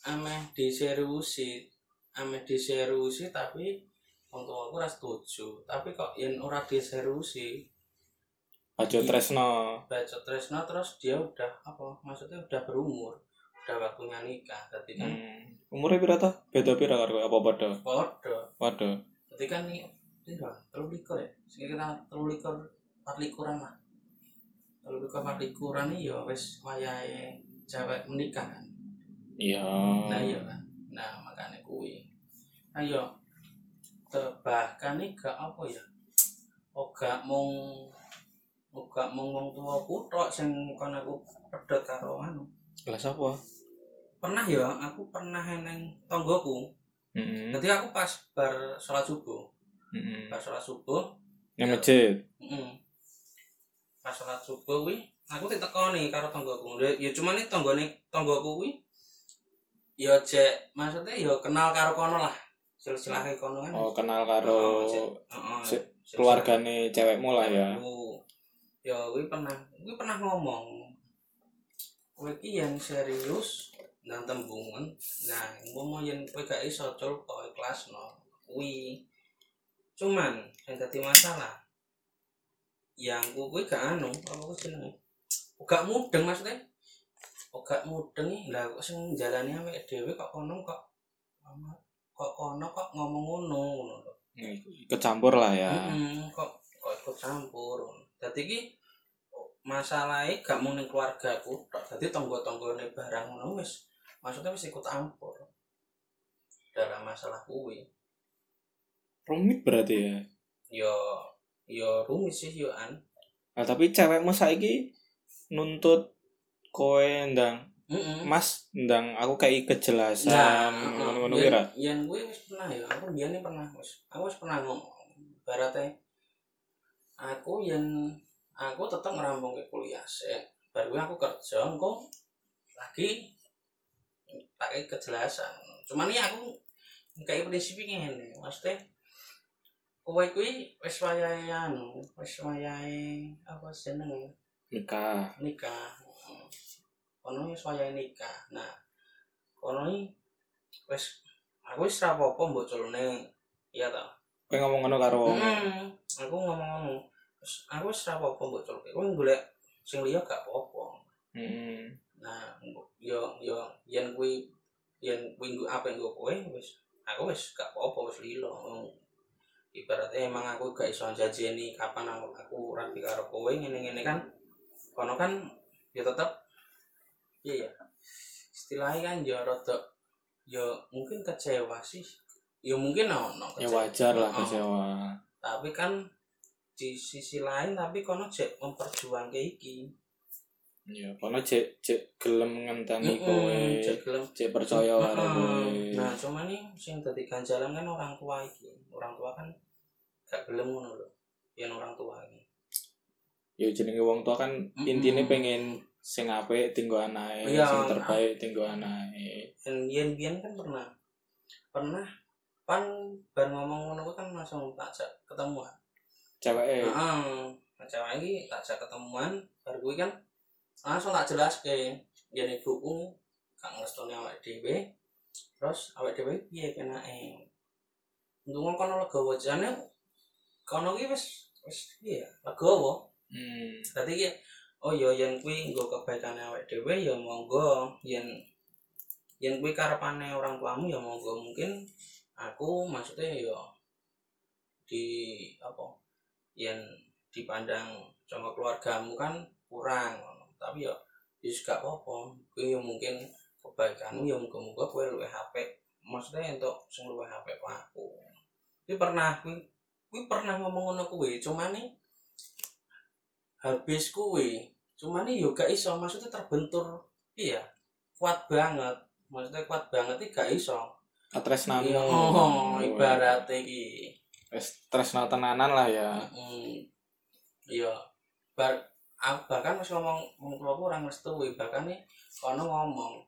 ameh diseriusi, ameh diseriusi tapi wong tua aku ora setuju. Tapi kok yen ora diseriusi, Aja Iya. tresno. baca Tresna terus dia udah apa? Maksudnya udah berumur, udah waktunya nikah. Tapi kan Hmm. Umure pira ta? Beda pira karo kowe? apa padha? podo Padha. Jadi kan ini piro? Telu likur ya. Sekitar telu likur, empat likuran lah. Telu likur, empat likuran ini ya wis wayahe cewek menikah kan. Iya. Nah Eh, iya kan. Nah makanya kuwi. Nah iya. Te- bahkan ini gak apa ya. Oh gak mung oh gak mung wong tua kutok sing kon aku pedot karo anu. Lah sapa? Pernah ya aku pernah neng tonggoku. Heeh. Nanti aku pas bar sholat subuh, Heeh. pas sholat subuh Nang Hmm. masjid. Heeh. Hmm. Pas salat subuh kuwi aku ditekoni karo tanggoku. Ya cuman iki tanggane tanggoku kuwi ya cek maksudnya ya kenal karo kono lah. Silsilah kono kan. Oh, kenal karo Heeh, Heeh. se- keluargane cewekmu lah ya. Aku- Ya kuwi pernah kuwi pernah ngomong. Kowe iki yang serius nang tembungan. Nah, umpama yen kowe gak iso cul kok ikhlasno. Kuwi cuman yang dadi masalah yang ku- kuwi gak anu apa kuwi jenenge gak mudeng maksudnya gak mudeng lah kok sing njalani awake dhewe kok kono kok kok kono kok ngomong ngono ngono lho Kecampur lah ya. Mm-mm, kok kok ikut campur. Dadi iki masalahe gak mung ning keluargaku, tok dadi tangga-tanggane barang ngono wis. Maksudnya wis ikut campur. Dalam masalah kuwi, Rumit berarti ya. yo yo ya rumit sih yo an. Nah, tapi cewekmu saiki nuntut kowe ndang Heeh. Mas ndang aku kayak kejelasan Nah, iya. ngono-ngono kuwi ra. Yen gue wis pernah ya, aku biyen pernah wis. Aku wis pernah ngomong. Barate aku yen aku tetep ngrampung ke kuliah sik. Bar kuwi aku kerja engko lagi pakai kejelasan. Cuman ini aku kayak prinsip iki ngene, maksudnya kowe kuwi wis wayahe anu, wis wayahe apa jenenge? Nikah. nikah kono wis wayahe nikah nah kono iki wis aku wis ra apa-apa mbok culune iya ta Kowe ngomong ngono karo hmm, aku ngomong ngono Wis- aku wis ra apa-apa mbok culune kowe golek sing liya gak apa-apa Heeh. nah nggo- yo yo yen kuwi yen kuwi nggo- apa yang kowe wis aku wis gak apa-apa wis lilo ibaratnya emang aku gak iso janjeni kapan aku aku rapi karo kowe ngene-ngene kan kono kan ya tetep iya ya istilahnya kan ya rada ya mungkin kecewa sih ya mungkin ono Ya kecewa. wajar lah Oh. kecewa. tapi kan di sisi lain tapi kono jek memperjuangke iki Ya, kono cek cek gelem ngenteni Mm-mm, kowe. jek gelem Cek percaya karo Heeh. kowe. Nah, cuman nih sing dadi ganjalan kan orang tua iki. Orang tua kan gak gelem ngono lho. Yen orang tua iki. Ya jenenge wong tua kan Mm-mm. intine pengen sing apik tinggo anake, Iya. sing terbaik tinggo anake. Dan yen biyen kan pernah pernah pan bar ngomong ngono kuwi kan langsung tak jak ketemuan. Ceweke Heeh. Nah, cewek iki tak jak ketemuan bar kuwi kan langsung tak jelaske yen ibuku gak ngrestoni awake dhewe. Terus awake dhewe piye kenake? Ndungo kono legowo jane kono iki wis wis piye ya? Legowo. hmm, Dadi ki oh ya yen kuwi nggo kebaikan awake dhewe ya monggo yen yen kuwi karepane orang tuamu ya monggo mungkin aku maksudnya ya di apa yen dipandang sama keluargamu kan kurang ngono. tapi ya wis gak apa-apa kuwi ya mungkin kebaikanmu ya muga-muga kowe luwih apik maksudnya untuk sing luwih apik ku aku kuwi pernah kuwi kuwi pernah ngomong ngono kuwi cuman nih habis kue cuman ini juga iso maksudnya terbentur iya kuat banget maksudnya kuat banget ini gak iso katresnamu. iya oh, ibarat iki Wis tresna tenanan lah ya. Mm, iya bar aku bahkan masih ngomong ngomong keluarga aku orang mestui bahkan nih kono ngomong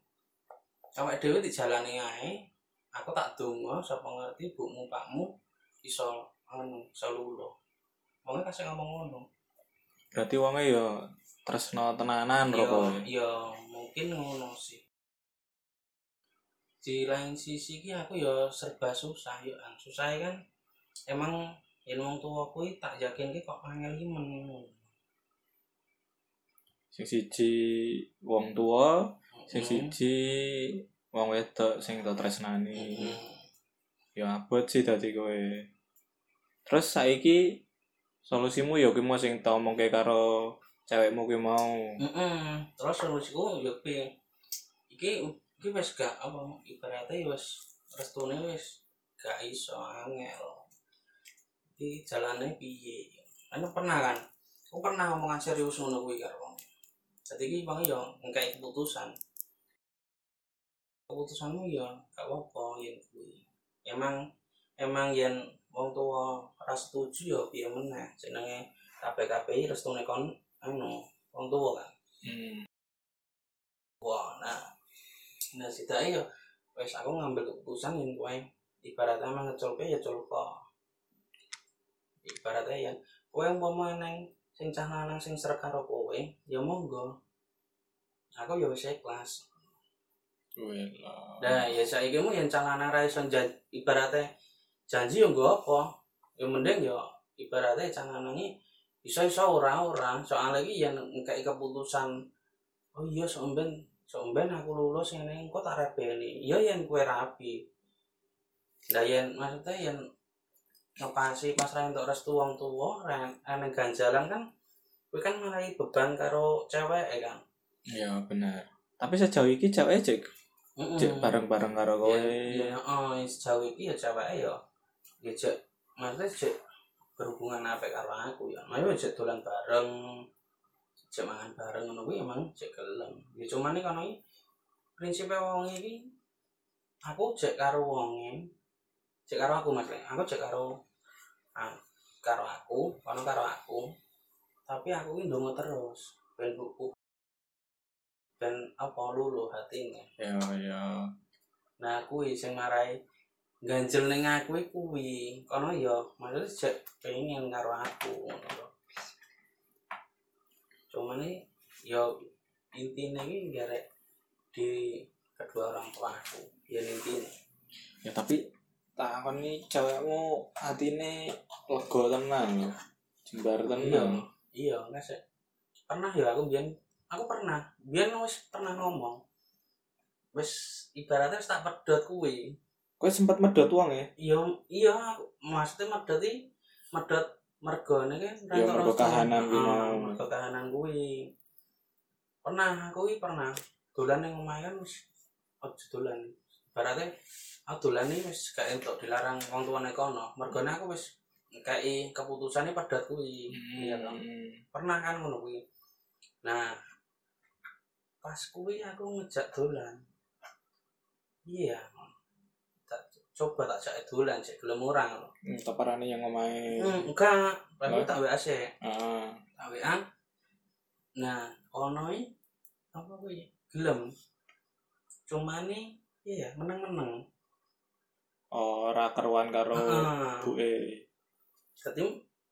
awake dhewe dijalani ae aku tak donga sapa ngerti bukmu pakmu iso anu iso lulu wong kasih ngomong ngono Berarti wonge ya tresna tenanan ro kowe. ya mungkin ngono sih di lain sisi ki aku ya serba susah yo an susah kan emang yen wong tua kuwi tak yakin ki kok angel ki men Sing siji wong tua, sing Mm-mm. siji wong wedok sing tau tresnani. Mm-mm. ya abot sih tadi kowe terus saiki solusimu ya kuwi mau sing tau omongke karo cewekmu kuwi mau Mm-mm. terus solusiku yo pi iki iki wis gak apa ibaratnya ya wis restune wis gak iso angel iki jalane piye Aku pernah kan aku pernah ngomongan serius ngono kuwi karo wong jadi iki bang yo ngkai keputusan keputusanmu ya gak apa-apa yen kuwi ya emang emang yen wong tua ora setuju ya piye meneh jenenge KPKPI restune kon anu wong tua kan Hmm. wah nah nah sidake yo wis aku ngambil keputusan yen kowe ibaratnya emang ngeculke ya culko ibaratnya ya kowe umpama neng sing cah lanang sing srek karo kowe ya monggo aku ya wis ikhlas Wela. Nah, ya saiki mu yang calana ra iso jan- ibaratnya janji yo nggo apa? Ya mending yo ibaratnya calana iki iso iso ora ora. Soale iki yang ngkai keputusan oh iya somben somben aku lulus ngene engko tak rebeli. Iya yen kowe rapi. Lah yen maksudnya yen ngepasi pas ra entuk restu wong tuwa, ra eneng ganjalan kan kowe kan marai beban karo cewek ya kan. Ya benar. Tapi sejauh ini cewek cek cek Mm-mm. bareng-bareng karo kowe. ya, ya, oh, yang sejauh ini ya cewek ya ya cek maksudnya cek berhubungan apa karo aku ya mayo cek dolan bareng cek mangan bareng ngono kuwi emang cek gelem ya cuman iki kono iki prinsipe wong iki aku cek karo wonge cek karo aku Mas Lek. aku cek karo ah, karo aku kono karo aku tapi aku ki ndonga terus ben buku ben apa lulu hatine Ya ya. Nah, kuwi sing marai ganjel ning aku iki kuwi. Kono ya maksudnya sejak pengen karo aku ngono lho. Cuman iki ya intine iki ngarep di kedua orang tua aku. Ya intine. Ya tapi takon nih cewekmu hatine lega tenan ya. Jembar tenan. Iya, ngasih. Pernah ya aku biyen aku pernah. Biyen wis pernah ngomong. Wis ibaratnya wis tak pedot kuwi. Kowe sempat medot wong ya? iya iya aku- maksudnya medot i medot mergone kan Iya, mergo kahanan kuwi kuwi nah, mau. mergo kahanan kuwi pernah aku i pernah dolan yang omah kan wis ojo dolan berarti aku dolan ini wis gak entuk dilarang wong tuane kono mergone aku wis ngkai keputusane pedot kuwi iya kan pernah kan ngono kuwi nah pas kuwi aku ngejak dolan iya tak coba tak jak dolan cek gelem ora ngono Hmm, Toparane yang omahe. Ah, hmm, enggak aku Lah? tak WA sih Heeh. tak WA nah ono i apa kuwi gelem cuman nih iya meneng-meneng Ora keruan karo heeh buke. jadi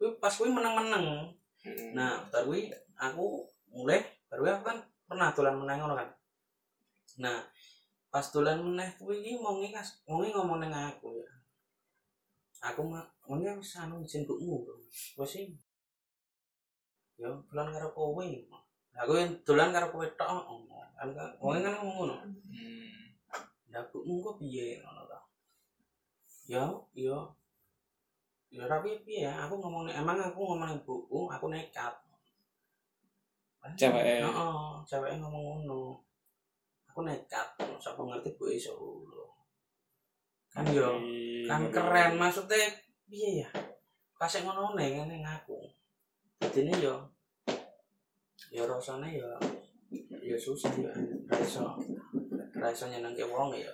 kuwi pas kuwi meneng-meneng Hmm. Nah, bentar kuwi aku mulai baru aku kan pernah dolan meneh ngono kan. Nah, pas dolan meneh kuwi iki wonge kas wonge ngomong ning aku ya. Aku mah wonge wis anu izin bukmu. Bro. Wis sih. Ya dolan karo kowe. Lah aku yang dolan karo kowe tok. oh. Kan kan- wonge kan ngomong ngono. Hmm. Lah bukmu kok Ya, piye ngono ta. Ya, ya. Ya tapi piye ya, aku ngomong emang aku ngomong ning buku, aku nekat. Ceweke. Heeh, ceweke ngomong ngono. Aku nekat, sapa ngerti bu iso lho. Kan yo, kan keren maksudnya piye ya? Pas yang ngono ne ngene ngaku. Dadine yo yo rasane yo yo susah yo ra iso ra iso nyenengke wong ya.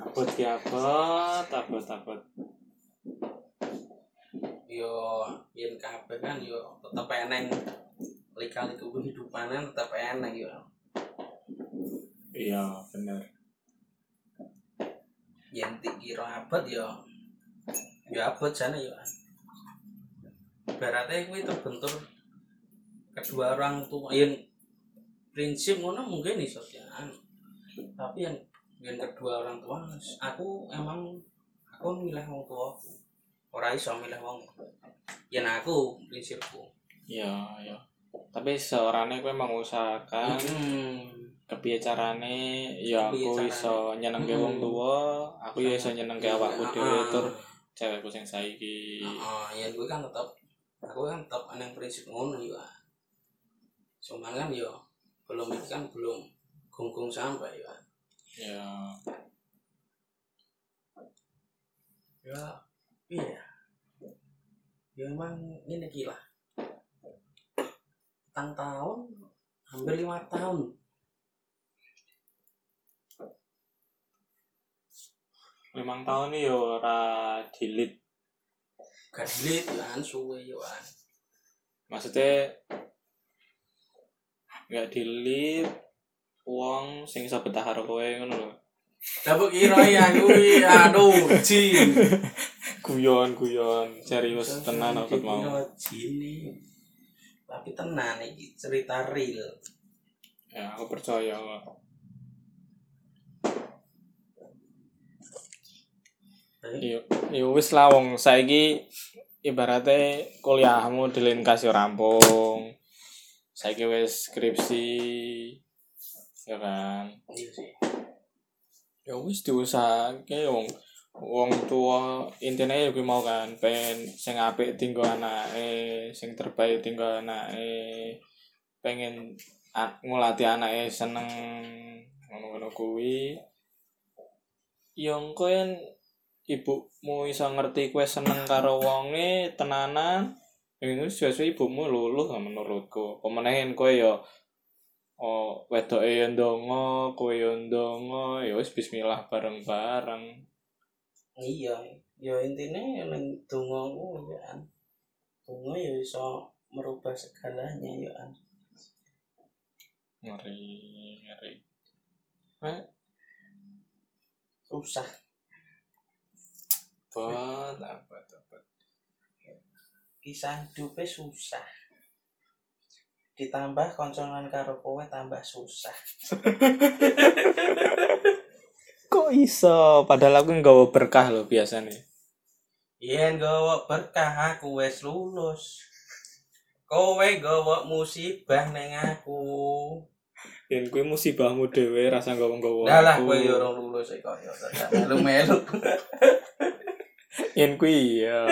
Abot ki abot, abot abot. yo yen kabeh kan yo tetep eneng lika-liku kehidupanan tetep eneng yo Iya, bener. yen dikira abot yo yo abot jane yo berarti kuwi terbentur kedua orang tua yen prinsip ngono mungkin iso jalan tapi yang yen kedua orang tua aku emang aku milih wong tuaku ora iso milih wong yen aku prinsipku Iya, iya. Tapi seorane kowe mengusahakan Hmm. kepiye carane ya Kepiye aku carane. iso nyenengke wong Mm. tuwa, aku ya iso nyenengke awakku Ah, dhewe tur Heeh. cewekku sing saiki. Heeh, ya gue kan tetap aku kan tetap aneh prinsip ngono ya cuman kan yo belum itu kan belum gunggung sampai ya Ya, ya iya ya emang ini gila tang tahun hampir lima tahun limang tahun ini yo ora dilit Gak delete kan suwe yo kan. maksudnya nggak dilit uang sing iso betah karo kowe ngono lho Lah kok kira ya kuwi aduh jin. guyon guyon serius tenan aku mau Kira jin. Tapi tenan iki cerita real. ya aku percaya Tapi yo yo Iya, wis lah wong saiki ibaratnya kuliahmu dilin kasih rampung saiki wis skripsi ya kan iya sih. ya wis diusahake wong wong tua intine ya kuwi mau kan pengen sing apik tinggo anake sing terbaik tinggo anake pengen a- ngulati anake seneng ngono-ngono kuwi yang koen ibumu iso ngerti kue seneng karo wonge tenanan ini sesuai ibumu luluh lah menurutku pemenahin kue yo oh wedoke yo ndonga kowe yo ndonga ya wis bismillah bareng-bareng Iya, ya intinya ya ning donga ku ya kan. Donga ya iso merubah segalanya ya kan. ngeri ngeri Susah. banget apa apa Kisah hidupnya susah. Ditambah konsonan karo kowe tambah susah. kok iso padahal aku nggawa berkah loh biasanya Yen gawa berkah aku wis lulus. Kowe gawa musibah ning aku. yen kuwi musibahmu dhewe rasa nggawa-nggawa Dah lah aku. kowe yo ora lulus iki kok yo tetep melu-melu. yen kuwi ya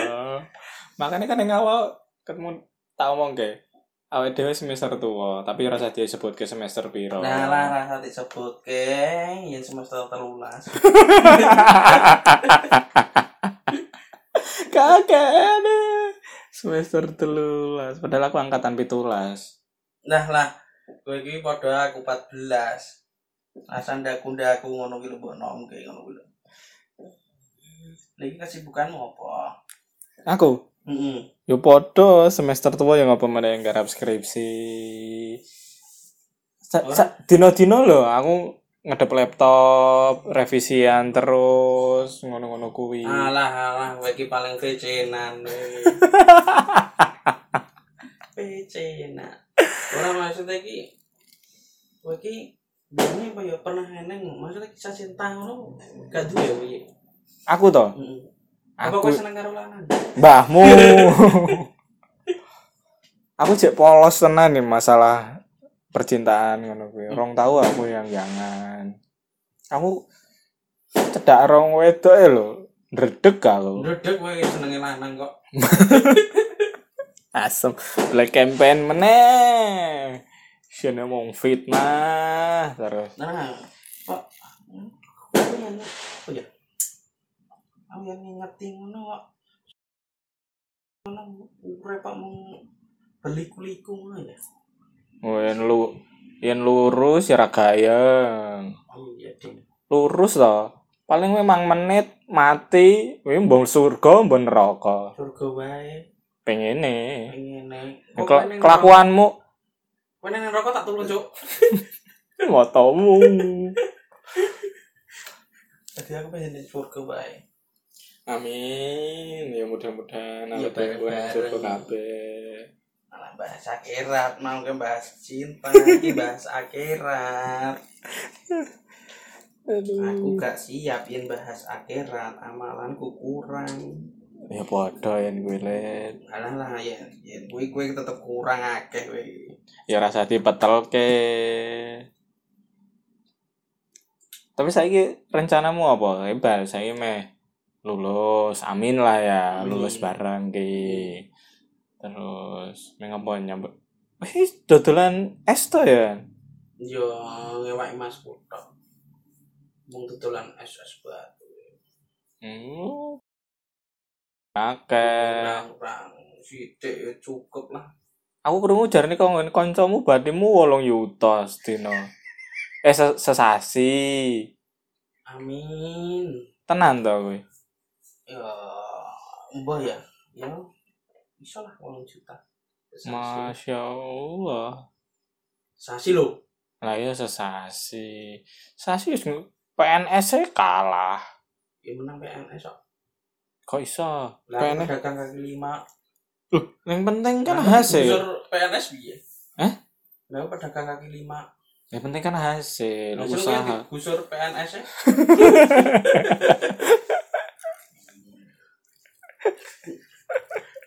makanya kan yang awal ketemu tak omong ke awet dhewe semester tua tapi rasa dia sebut ke semester piro Nah lah rasa disebutke yen semester 13. kakek semester telulas padahal aku angkatan pitulas Nah lah, kowe iki padha aku 14. Asan ndaku ndaku ngono kuwi lho mbok nomke ngono kuwi lho. Lah iki kesibukanmu apa? aku Heeh. yo podo semester tua yang apa mana yang garap skripsi Sa- sa- dino-dino loh aku ngedep laptop revisian terus ngono-ngono kuwi Alah alah kowe iki paling vecenan. Vecenan. Ora maksud iki kowe iki Ini apa ya pernah eneng maksudnya kisah cinta ngono gak duwe ya kowe. aku toh Heeh. Apa aku kowe seneng karo lanang? mbahmu aku cek polos tenan nih masalah percintaan ngono kuwi rong tahu aku yang jangan aku cedak rong wedok e lho ndredeg aku Ndredeg kowe senenge lanang kok. asem black campaign meneh Sini mau fitnah terus Nah, Pak. Hmm? Aku yang apa ya? Aku yang ngerti ngono kok. Ngono urip Pak mau beliku-liku ngono ya. yen lu yen lurus ya ra gayeng Oh iya ding. lurus toh paling memang menit mati wih mbong surga mbong neraka Surga wae pengene ngene. Kel- kelakuanmu Kowe nang rokok tak tulung, Cuk. motomu Jadi aku pengen di surga wae. amin ya mudah-mudahan Ya, awet dhewe bareng-bareng. surga kabeh Malah bahas akhirat, mau ke bahas cinta, iki bahas akhirat. Aku kan- aduh gak siap yen bahas akhirat, amalanku kurang. ya padha yen kuwi Lid. Alah lah ya, ya gue gue tetep kurang akeh gue. ya rasa dipetelke tapi saiki rencanamu apa hebat saiki meh lulus amin lah ya Amin. lulus bareng ki terus mengapa nyambut wis dodolan es to ya Yo ngewak mas kutok. Mung tutulan SS batu. Hmm. Eh. Akeh. Kurang-kurang sithik ya cukup lah. Aku krungu jarene kok ngene kancamu batimu 8 yuta sedina. Eh se- sesasi. Amin. Tenan to kowe. ya mbah ya ya bisa lah 8 juta Ya, Sasi. Masya Allah. sasi lo Lah iya sesasi. Sasi wis nge- PNS -e kalah. ya menang PNS kok Kok iso? lah PNS. pedagang kaki lima Yang penting kan Lah, hasil. unsur PNS piye Hah? lah pedagang kaki lima Yang penting kan hasil Lah, suruh usaha. kan digusur PNS -nya.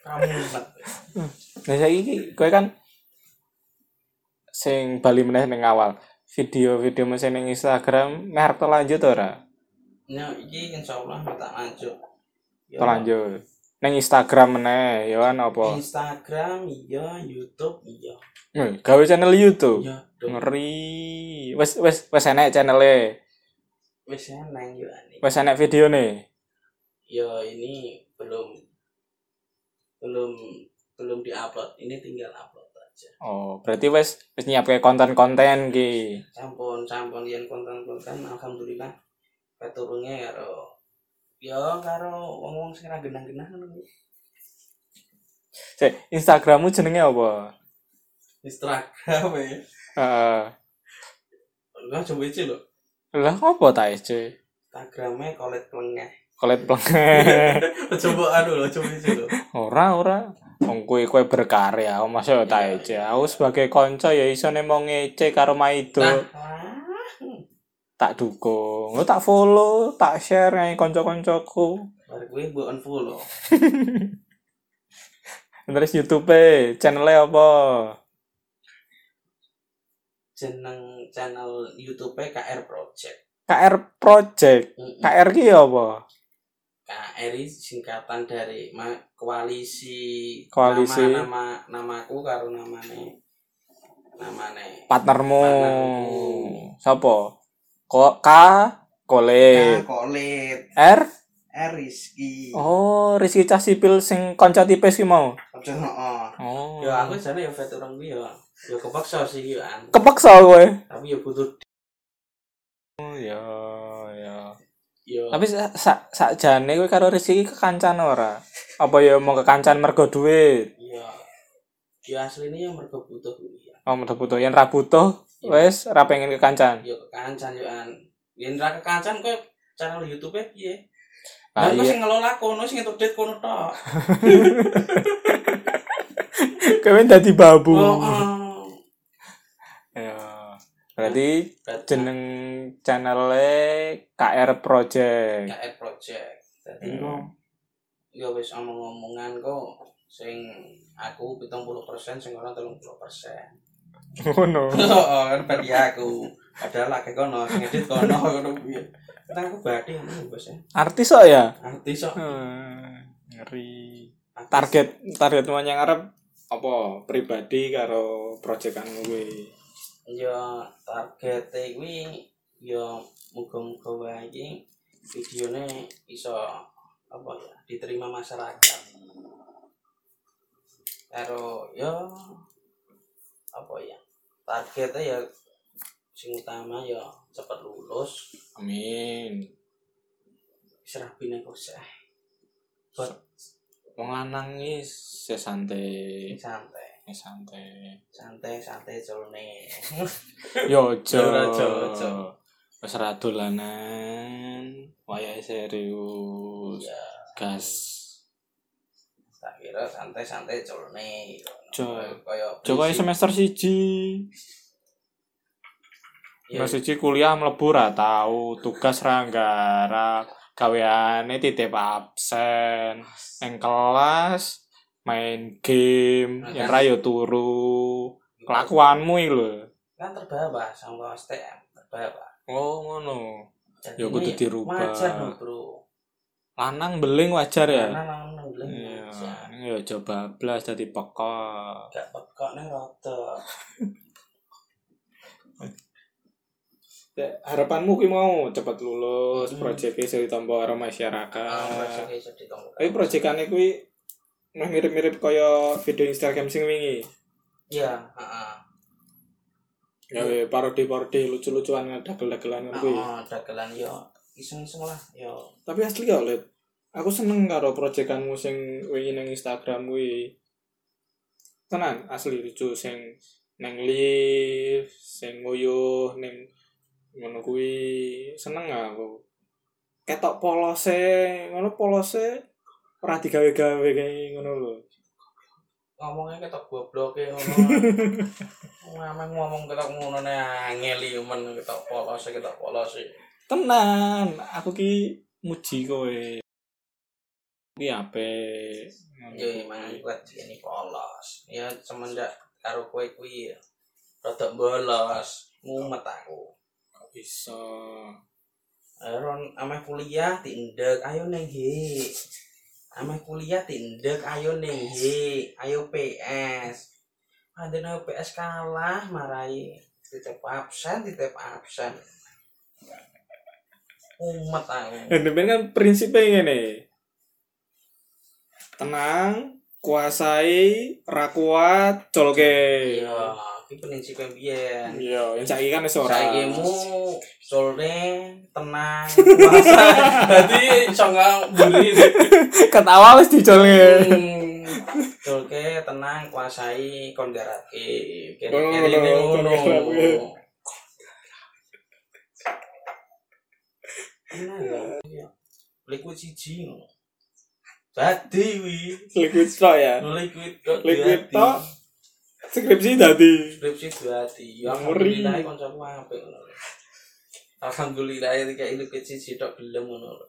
kamu enak. Nah saiki kowe kan sing bali meneh ning awal. Video-video mesin ning Instagram merek lanjut ora? ya iki insya Allah tak lanjut Ya, Terlanjut. Ning Instagram meneh ya kan apa? Instagram iya YouTube iya Wih, gawe channel YouTube. iya dong. Ngeri. Wes wes wes enek channel-e. wis nang yo ani Wes enek videone. ya ini belum belum belum diupload ini tinggal upload aja Oh, berarti wes wes nyiapke konten-konten ki. sampun sampun yen konten-konten alhamdulillah keturunnya karo ya karo wong-wong sing ra genah-genah ngono. Sik, Instagrammu jenenge apa? Instagram ya Heeh. Enggak coba aja lho Lah apa ta cuy? Instagramnya kolet pelengeh Kolet pleng. coba aduh lo coba aja lho Ora ora. Wong kuwi kowe berkarya, Oh, aku masuk tak Iya, ece. iya. Aku sebagai kanca ya iso nek mau ngece karo Maido nah wah. tak dukung. Lu tak follow, tak share nang kanca-kancaku. baru gue gue unfollow Terus YouTube-e, channel-e apa? jeneng channel YouTube KR Project KR Project. Mm-mm. KR ki apa? KRI singkatan dari ma koalisi Koalisi. nama nama namaku karo namane namane Partnermu. Partnerku. Sopo? Ko K K Eh. Kole. Kolit R R Rizky Oh, Rizky Cah Sipil sing kanca tipis ki mau. Ojo, oh. Oh. ya aku jane ya veteran gue ya ya kepaksa sih ya an. kepeksa kowe. tapi ya butuh Oh, ya ya. ya Tapi sa- sa- sakjane kowe karo Rizky kekancan ora? Apa ya mau kekancan mergo duit? ya ya aslinya yang mereka butuh gue ya Oh, udah butuh yang ra butuh, wes ra pengen kekancan. ya kekancan yo an yen ra kekancan kowe channel YouTube e piye Lah Lah kok Ah, iya, sing ngelola kono sing update kono tok. kowe dadi babu. Oh, oh. Ya. Berarti Berarti jeneng channelnya KR Project. KR Project. Dadi Hmm. ya wis omong-omongan kok sing aku 70% sing ora 30%. Ngono. Heeh, kan berarti aku. Padahal lagi kono sing edit kono ngono piye. Kan aku badhe ngono bos ya. Artis kok ya? Artis kok. Hmm, ngeri. Artis. Target target yang Arab apa pribadi karo proyekan gue Ya target kuwi ya muga-muga wae iki videone iso apa ya diterima masyarakat. Karo ya apa ya targetnya ya sing utama ya cepet lulus amin serah bina koseh buat wong lanang iki se santai santai se santai santai santai jone yo Ya ojo ora, Jo, ojo. wis ra dolanan wayahe serius ya gas tak kira gitu. santai santai jone Jo. Kaya- Joko prinsip- semester siji Ya, semester siji kuliah mlebu ra tau tugas ra nggarap gaweane titip absen neng kelas main game Nah, yang ra kan. yo turu kelakuanmu iki lho kan terbawa sama STM terbawa oh ngono Jadi Ya, kudu ini dirubah. wajar loh bro lanang beling wajar ya karena nang nang bilang Iya, wajar. ini ya coba blas dadi peka. gak peka nih roto Harapanmu ki mau cepet lulus, Hmm. Ah, proyek iso ditampa karo masyarakat. proyeknya jadi dong Ah. Tapi proyekane kuwi meh mirip-mirip kaya video Instagram sing wingi. iya heeh Ah. Gawe parodi-parodi lucu-lucuan ngedagel-dagelan ngono kuwi. oh dagelan yo iseng-iseng lah ya Tapi asli ya Lid. Aku seneng karo proyekanmu sing wingi nang Instagram kuwi. Tenan, asli lucu sing nang lift, sing nguyuh ning ngono kuwi seneng aku. Ketok polose, ngono polose ora digawe-gawe kayak ngono lho. ngomongnya ketok goblok ya ngono. Ngomong ngomong ketok ngono ne angel yo men ketok polos ketok polos. ya. Tenan, aku ki muji kowe. Ki apik. Ngono Yo kuwi. emang aku iya, ini polos. Ya semenjak karo kowe kuwi ya rada bolos, mumet aku. Gak bisa. Aron ameh kuliah tindek ayo neng he. Ameh kuliah tindek ayo neng he. Ayo PS. Anjen ayo PS kalah marai. Titip absen, titip absen. Umat aku. Dan demikian kan prinsipnya ini tenang kuasai rakuat colke Iya, iki prinsip yang biyen. iya yang saiki kan wis ora Sakimu sore tenang puasa. Dadi sangga buri. ketawa wis dicolke Oke, Hmm. tenang kuasai kon garake. Ngono, Kene ini ngono, ngono. garake. Tenang ya. Liquid siji ngono. Dadi wi. liquid tok ya Liquid kok Liquid dadi. tok. skripsi dadi skripsi dua hati Ngeri. alhamdulillah koncoku apik ngono lho. alhamdulillah ya kayak ini kecil sih tok gelem ngono lho.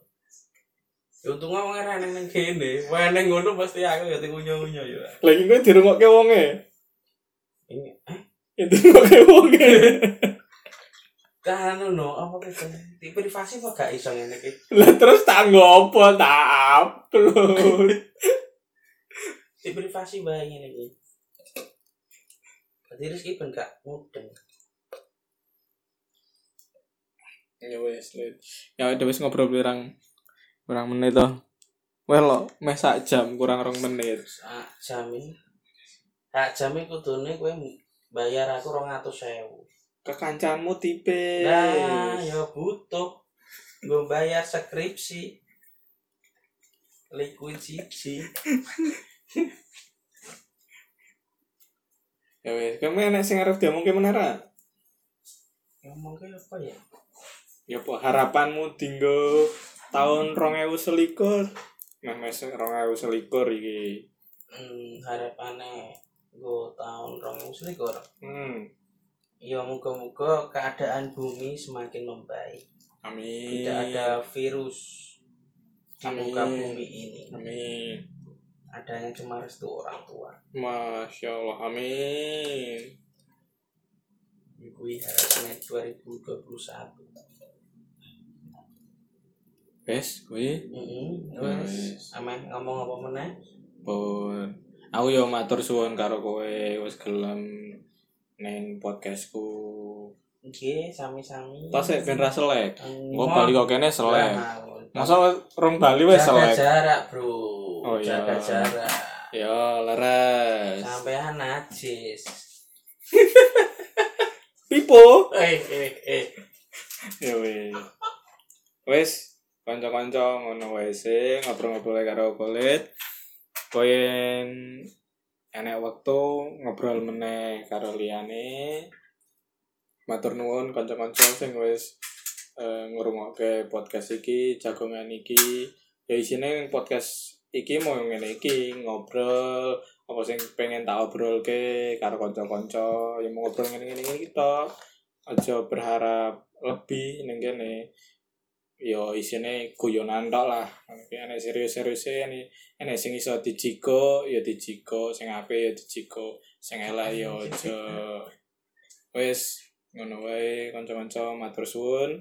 ya untung aku ngerti neng neng kene weneng ngono pasti aku ya tiku unyu unyu ya lagi kowe dirungokke wonge ini eh ya dirungokke wonge kan no apa gitu di privasi kok gak iso ngene iki lah terus tak ngopo tak upload di privasi bae ngene iki Berarti Rizky ben gak mudeng ya wis Lid. ya udah wis ngobrol pirang pirang menit toh Wah lo, meh sak jam kurang rong menit. sak jam ini sak jam ini kudune kowe bayar aku 200.000 kekancanmu tipis. Nah, ya butuh. Gue bayar skripsi. Liquid siji. Ya wis, kamu enak sing arep diomongke meneh ra? Ngomong ke apa ya? Ya apa harapanmu dinggo tahun 2021? Nah, mes 2021 iki. Hmm, harapannya gue tahun rong selikur. Hmm. Ya moga-moga keadaan bumi semakin membaik. Amin. Tidak ada virus di Amin. muka bumi ini. Amin. Adanya cuma restu orang tua. Masya Allah, amin. Gue harapannya 2021. Wes, kuwi Mm-mm, Wes, ameh Hmm, ngomong apa meneh? pun aku yo matur suwun karo kowe wis gelem neng podcastku. Nggih, sami-sami. Hmm, Tas sik ben ra selek. Engko bali Ngomong. kok kene selek. Nah, Masa rong Bali wis jaga selek. jarak bro Oh, iya. jaga jarak Yo, leres. sampean najis Pipo. eh eh eh Ya wis. Wis kanca-kanca ngono wae sih ngobrol-ngobrol ae karo kulit. Koyen enek wektu ngobrol meneh karo liyane. Matur nuwun kanca-kanca sing wis eh, ngrungokke podcast iki, jagongan iki. Ya isine podcast iki mau ngene iki ngobrol apa sing pengen tak obrolke karo kanca-kanca ya mau ngobrol ngene-ngene iki tok. aja berharap lebih ning kene yo isine guyonan tok lah tapi enek serius-serius e enek enek sing iso dijiko yo dijiko sing apik yo dijiko sing elek yo aja wis ngono wae kanca-kanca matur suwun